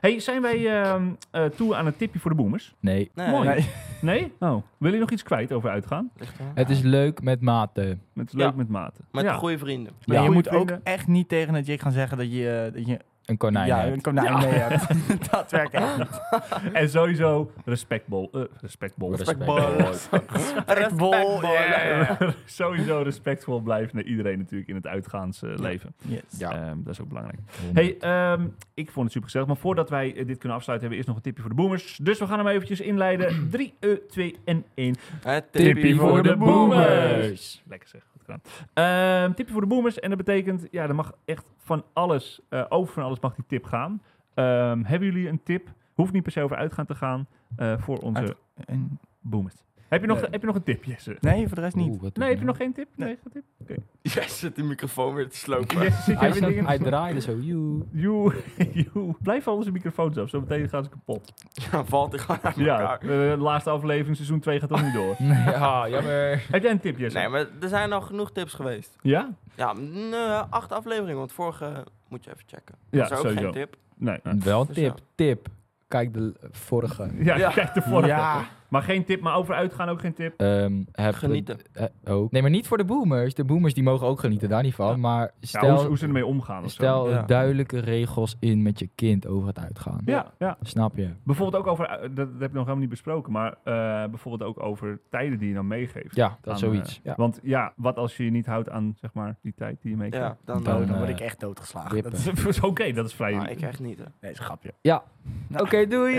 Speaker 1: hey, zijn wij ehm, eh, toe aan een tipje voor de boomers?
Speaker 3: Nee.
Speaker 5: Nee.
Speaker 1: Mooi.
Speaker 2: Nee.
Speaker 1: Nee? Oh. Wil je nog iets kwijt over uitgaan?
Speaker 5: Ligt eraan.
Speaker 3: Het is leuk met maten.
Speaker 1: Het is leuk
Speaker 5: Ja.
Speaker 1: met maten.
Speaker 5: Met
Speaker 1: ja.
Speaker 5: goede vrienden.
Speaker 2: Maar
Speaker 3: Ja.
Speaker 2: je moet
Speaker 1: Goeie vrienden.
Speaker 2: ook echt niet tegen een chick gaan zeggen dat je, eh, dat je
Speaker 3: Een konijn
Speaker 2: ja,
Speaker 3: hebt.
Speaker 2: een konijn mee hebt. dat werkt echt niet.
Speaker 1: En sowieso respectbol. eh, respectbol.
Speaker 5: Respectbol. Yeah.
Speaker 1: eh, sowieso respectvol blijven naar iedereen natuurlijk in het uitgaansleven.
Speaker 2: Yes.
Speaker 3: Ja.
Speaker 1: Ehm, dat is ook belangrijk. Hey, ehm, ik vond het super gezellig. Maar voordat wij eh, dit kunnen afsluiten, hebben we eerst nog een tipje voor de boomers. Dus we gaan hem eventjes inleiden. 3, 2 en 1.
Speaker 5: Het
Speaker 3: Tippie voor de boomers.
Speaker 1: boomers. Lekker zeg. Goed gedaan. Ehm, tipje voor de boomers. En dat betekent, ja, er mag echt van alles, eh, over van alles mag die tip gaan. Ehm, hebben jullie een tip? Hoeft niet per se over uitgaan te gaan eh, voor onze
Speaker 2: Uit- En-
Speaker 1: boomers. Heb je nog,
Speaker 2: Nee.
Speaker 1: heb je nog een tip, Jesse?
Speaker 2: nee, voor de rest niet.
Speaker 3: Oeh, wat doe
Speaker 1: Nee, heb je nog
Speaker 3: nou?
Speaker 1: geen tip?
Speaker 2: Nee.
Speaker 1: Nee, geen tip?
Speaker 5: Yes, zit die microfoon weer te slopen.
Speaker 1: Jesse, zit jij
Speaker 3: Hij,
Speaker 1: weer
Speaker 3: zat-
Speaker 1: dingen te
Speaker 3: hij draaide zo. joe.
Speaker 1: Joe, joe. blijf van onze microfoons af, zo meteen gaan ze kapot.
Speaker 5: Ja, valt hij gewoon uit
Speaker 1: Ja,
Speaker 5: elkaar.
Speaker 1: de laatste aflevering, seizoen 2 gaat toch niet door.
Speaker 3: Nee, ah, jammer.
Speaker 1: Heb jij een tip, Jesse?
Speaker 5: Nee, maar er zijn al genoeg tips geweest.
Speaker 1: Ja?
Speaker 5: Ja, mm, eh, acht afleveringen, want vorige moet je even checken.
Speaker 1: Ja,
Speaker 5: dat is ook
Speaker 1: sowieso.
Speaker 5: geen tip.
Speaker 1: Nee, nee.
Speaker 3: Wel een
Speaker 5: Dus
Speaker 3: tip, tip. Kijk de l- vorige.
Speaker 1: Ja,
Speaker 5: Ja.
Speaker 1: kijk de vorige.
Speaker 2: Ja.
Speaker 1: Maar geen tip, maar over uitgaan ook geen tip.
Speaker 3: Ehm, heb
Speaker 5: Genieten.
Speaker 3: eh, ook. Nee, maar niet voor de boomers. De boomers die mogen ook genieten, daar niet van. Maar
Speaker 1: Ja,
Speaker 3: stel,
Speaker 1: hoe, ze- hoe ze ermee omgaan of zo.
Speaker 3: stel
Speaker 5: Ja.
Speaker 3: duidelijke regels in met je kind over het uitgaan.
Speaker 1: Ja, ja.
Speaker 3: Snap je?
Speaker 1: Bijvoorbeeld ook over, eh, dat, dat heb ik nog helemaal niet besproken, maar eh, bijvoorbeeld ook over tijden die je dan meegeeft.
Speaker 3: Ja, dat
Speaker 1: Aan,
Speaker 3: is zoiets.
Speaker 1: eh,
Speaker 3: ja.
Speaker 1: Want ja, wat als je je niet houdt aan zeg maar, die tijd die je meegeeft?
Speaker 5: Ja, dan,
Speaker 3: Dan,
Speaker 5: dan,
Speaker 2: Dan word
Speaker 3: eh,
Speaker 2: ik echt doodgeslagen.
Speaker 3: wippen.
Speaker 2: Dat is, nee,
Speaker 1: Oké, dat is vrij.
Speaker 5: ik echt niet. Hè.
Speaker 3: Ah,
Speaker 2: dat is een grapje.
Speaker 1: Nou,
Speaker 3: Oké, doei.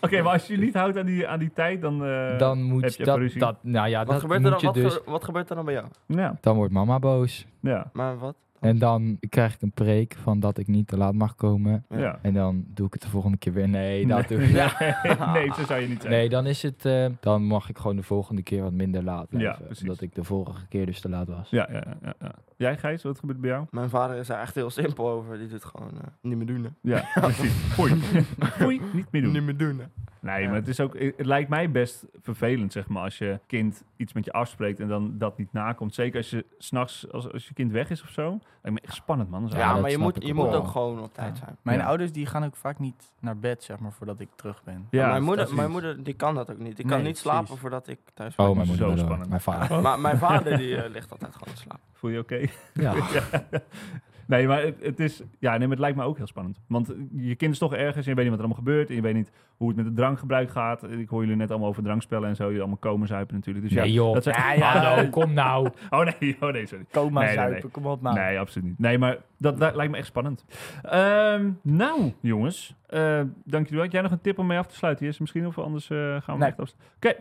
Speaker 1: Oké, maar als je je niet houdt aan die, aan die tijd, dan. eh,
Speaker 3: Dan moet
Speaker 1: heb je
Speaker 3: je dat,
Speaker 1: ruzie?
Speaker 3: dat... Nou ja,
Speaker 5: Wat,
Speaker 3: dat
Speaker 5: gebeurt
Speaker 3: moet
Speaker 5: er dan,
Speaker 3: je
Speaker 5: wat,
Speaker 3: dus...
Speaker 5: ge- wat gebeurt er dan bij jou?
Speaker 1: Ja,
Speaker 3: Dan wordt mama boos.
Speaker 1: ja,
Speaker 5: Maar wat?
Speaker 3: En dan krijg ik een preek van dat ik niet te laat mag komen.
Speaker 1: ja.
Speaker 3: En dan doe ik het de volgende keer weer. Nee, dat doe ik niet.
Speaker 1: nee, zo zou je niet zijn.
Speaker 3: Nee, dan is het... eh, dan mag ik gewoon de volgende keer wat minder laat blijven.
Speaker 1: precies.
Speaker 3: omdat ik de vorige keer dus te laat was.
Speaker 1: Ja, ja, ja, ja. Jij, Gijs, wat gebeurt bij jou?
Speaker 5: Mijn vader is daar echt heel simpel over. Die doet gewoon eh, niet meer doen. Hè.
Speaker 1: Ja, precies. Foei. Foei, niet meer doen.
Speaker 5: Niet meer doen. Hè.
Speaker 1: Nee, maar het, is ook, het lijkt mij best vervelend, zeg maar, als je kind iets met je afspreekt en dan dat niet nakomt. Zeker als je s'nachts, als, als je kind weg is of zo. Lijkt me echt spannend, man. Dat is
Speaker 5: Ja,
Speaker 3: Ja, dat
Speaker 5: maar je
Speaker 3: snap
Speaker 5: moet,
Speaker 3: ik
Speaker 5: je
Speaker 3: ook
Speaker 5: moet
Speaker 3: wel.
Speaker 5: ook gewoon op tijd zijn.
Speaker 2: Mijn
Speaker 1: Ja.
Speaker 2: ouders die gaan ook vaak niet naar bed, zeg maar, voordat ik terug ben.
Speaker 1: Ja,
Speaker 5: mijn, moeder,
Speaker 1: dat is-
Speaker 5: mijn moeder die kan dat ook niet. Die kan
Speaker 2: Nee,
Speaker 5: niet slapen
Speaker 2: precies.
Speaker 5: voordat ik thuis ben.
Speaker 3: Oh, mijn
Speaker 1: Zo
Speaker 3: moeder. wel hoor.
Speaker 1: spannend.
Speaker 3: Mijn vader.
Speaker 5: Maar mijn vader die eh, ligt altijd gewoon te slapen.
Speaker 1: Voel je oké?
Speaker 3: Ja.
Speaker 1: Nee, maar het, het is... Ja, nee, maar het lijkt me ook heel spannend. Want je kind is toch ergens en je weet niet wat er allemaal gebeurt. En je weet niet hoe het met het drankgebruik gaat. Ik hoor jullie net allemaal over drankspellen en zo. Jullie allemaal komen zuipen natuurlijk. Dus ja,
Speaker 3: Nee, joh.
Speaker 1: Dat zijn,
Speaker 2: Ja, ja.
Speaker 3: Hallo, kom nou.
Speaker 1: Oh nee, oh nee, sorry.
Speaker 2: Coma
Speaker 1: Nee, nee,
Speaker 2: zuipen,
Speaker 1: nee.
Speaker 2: kom op nou.
Speaker 1: Nee, absoluut niet. Nee, maar dat, dat lijkt me echt spannend. Ehm, nou, jongens. eh dankjewel. Had jij nog een tip om mee af te sluiten? Eerst misschien of anders eh, gaan we
Speaker 2: Nee.
Speaker 1: echt afsluiten. Oké.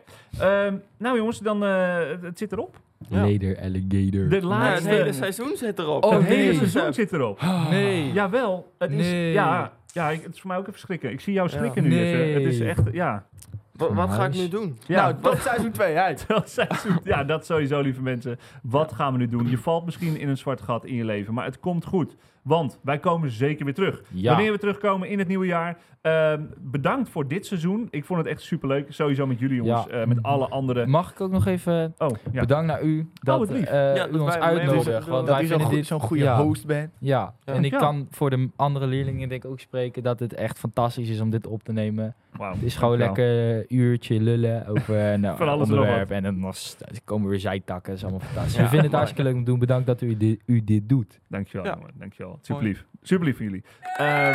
Speaker 1: Ehm, nou jongens, dan, eh, het, het zit erop.
Speaker 5: Ja.
Speaker 3: Leder alligator.
Speaker 1: De
Speaker 5: Maar het
Speaker 1: laatste...
Speaker 5: hele seizoen zit erop.
Speaker 3: Oh,
Speaker 1: het
Speaker 3: nee.
Speaker 1: hele seizoen zit erop.
Speaker 3: nee.
Speaker 1: Jawel. Het is,
Speaker 3: Nee.
Speaker 1: Ja, ja ik- het is voor mij ook even schrikken. Ik zie jou schrikken
Speaker 3: Ja.
Speaker 1: nu. Jesse.
Speaker 3: Nee.
Speaker 1: Het is echt... Ja.
Speaker 5: Wa- wat ga ik
Speaker 3: Huis.
Speaker 5: nu doen?
Speaker 1: ja
Speaker 2: nou, tot seizoen 2 uit.
Speaker 1: Dat seizoen- ja, dat sowieso, lieve mensen. Wat gaan we nu doen? Je valt misschien in een zwart gat in je leven, maar het komt goed. Want wij komen zeker weer terug.
Speaker 3: Ja.
Speaker 1: Wanneer we terugkomen in het nieuwe jaar. Ehm, bedankt voor dit seizoen. Ik vond het echt superleuk. Sowieso met jullie jongens,
Speaker 3: Ja.
Speaker 1: eh, met alle anderen.
Speaker 3: Mag ik ook nog even
Speaker 1: Oh, ja.
Speaker 3: bedankt naar u dat,
Speaker 1: wat lief.
Speaker 3: eh,
Speaker 5: dat
Speaker 3: u ons
Speaker 5: wij mee
Speaker 3: uitnodigt.
Speaker 5: mogen
Speaker 3: Want
Speaker 5: doen.
Speaker 2: Dat
Speaker 3: wij
Speaker 2: u zo'n
Speaker 3: vinden
Speaker 2: goe-
Speaker 3: dit
Speaker 2: zo'n goede
Speaker 3: ja.
Speaker 2: host bent.
Speaker 3: Ja,
Speaker 5: Ja.
Speaker 3: en ik
Speaker 1: Ja.
Speaker 3: kan voor de andere leerlingen denk ik ook spreken dat het echt fantastisch is om dit op te nemen.
Speaker 1: Wauw,
Speaker 3: Het is Dus gewoon
Speaker 1: dankjewel.
Speaker 3: lekker eh, uurtje lullen over nou,
Speaker 1: Van alles en nog
Speaker 3: onderwerp. En dan nog st- er komen weer zijtakken, dat is allemaal fantastisch.
Speaker 5: Ja,
Speaker 3: We vinden het
Speaker 5: mooi.
Speaker 3: hartstikke leuk om te doen. Bedankt dat u dit, u dit doet.
Speaker 1: Dankjewel,
Speaker 5: Ja.
Speaker 1: jongen, dankjewel. dankjewel. Superlief. Superlief van jullie. Ehm,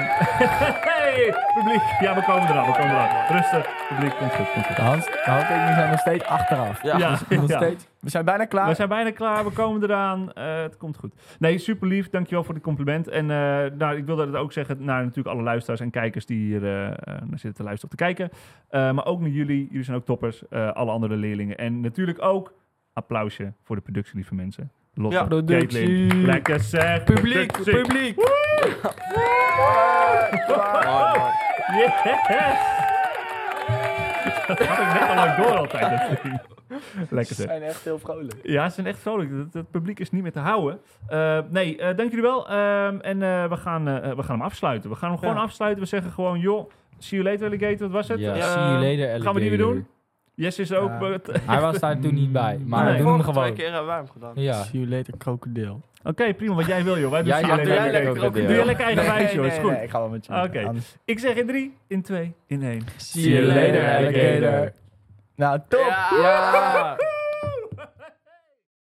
Speaker 1: hey, publiek. Ja, we komen eraan, we komen eraan. Rustig, publiek, komt goed, komt goed.
Speaker 2: De, hand, de handtekeningen zijn nog steeds achteraf.
Speaker 5: Ja.
Speaker 1: Ja,
Speaker 2: Nog
Speaker 1: ja.
Speaker 2: steeds. We zijn bijna klaar.
Speaker 1: We zijn bijna klaar, we komen eraan. Eh, het komt goed. Nee, super lief. Dankjewel voor het compliment. En eh, nou, ik wilde dat ook zeggen naar natuurlijk alle luisteraars en kijkers die hier eh, eh, naar zitten te luisteren of te kijken. Eh, maar ook naar jullie. Jullie zijn ook toppers. eh, alle andere leerlingen. En natuurlijk ook applausje voor de productie, lieve mensen. Lotte,
Speaker 5: Ja,
Speaker 1: Caitlin.
Speaker 3: productie.
Speaker 1: Lekker zeg.
Speaker 3: Publiek,
Speaker 1: productie.
Speaker 3: publiek.
Speaker 5: Mooi,
Speaker 2: Oh.
Speaker 5: mooi.
Speaker 1: Yes! Dat had ik net al lang door altijd. dat ding. Lekker zeg.
Speaker 2: zijn echt heel vrolijk.
Speaker 1: Ja, ze zijn echt vrolijk. Het, het publiek is niet meer te houden. Eh, nee, eh, dank jullie wel. Ehm, en eh, we, gaan, eh, we gaan hem afsluiten. We gaan hem gewoon
Speaker 5: Ja.
Speaker 1: afsluiten. We zeggen gewoon, joh, see you later alligator. Wat was het?
Speaker 3: Ja,
Speaker 1: Eh,
Speaker 3: see you later,
Speaker 1: Gaan we die weer
Speaker 3: alligator.
Speaker 1: doen? Yes is er ook.
Speaker 2: Ja.
Speaker 1: maar het- Oké,
Speaker 3: Hij was daar toen niet bij, maar
Speaker 1: Nee. dus
Speaker 3: we doen hem
Speaker 5: Vorige twee
Speaker 3: gewoon.
Speaker 5: keer hebben wij hem gedaan.
Speaker 3: Ja.
Speaker 2: See you later, krokodil.
Speaker 1: prima. Wat jij wil, joh. Wij doen
Speaker 3: Jij
Speaker 1: see
Speaker 3: mag-
Speaker 1: you
Speaker 5: doe
Speaker 1: later
Speaker 5: jij lekker
Speaker 1: alligator.
Speaker 5: ook een
Speaker 1: Doe je
Speaker 5: deel.
Speaker 1: lekker eigen wijs, joh. Is goed.
Speaker 2: ik ga wel met je.
Speaker 1: Oké.
Speaker 2: mee. Anders-
Speaker 1: Ik zeg in drie, in twee, in één.
Speaker 3: See you later, alligator.
Speaker 2: Nou, top!
Speaker 3: Ah.
Speaker 5: Ja.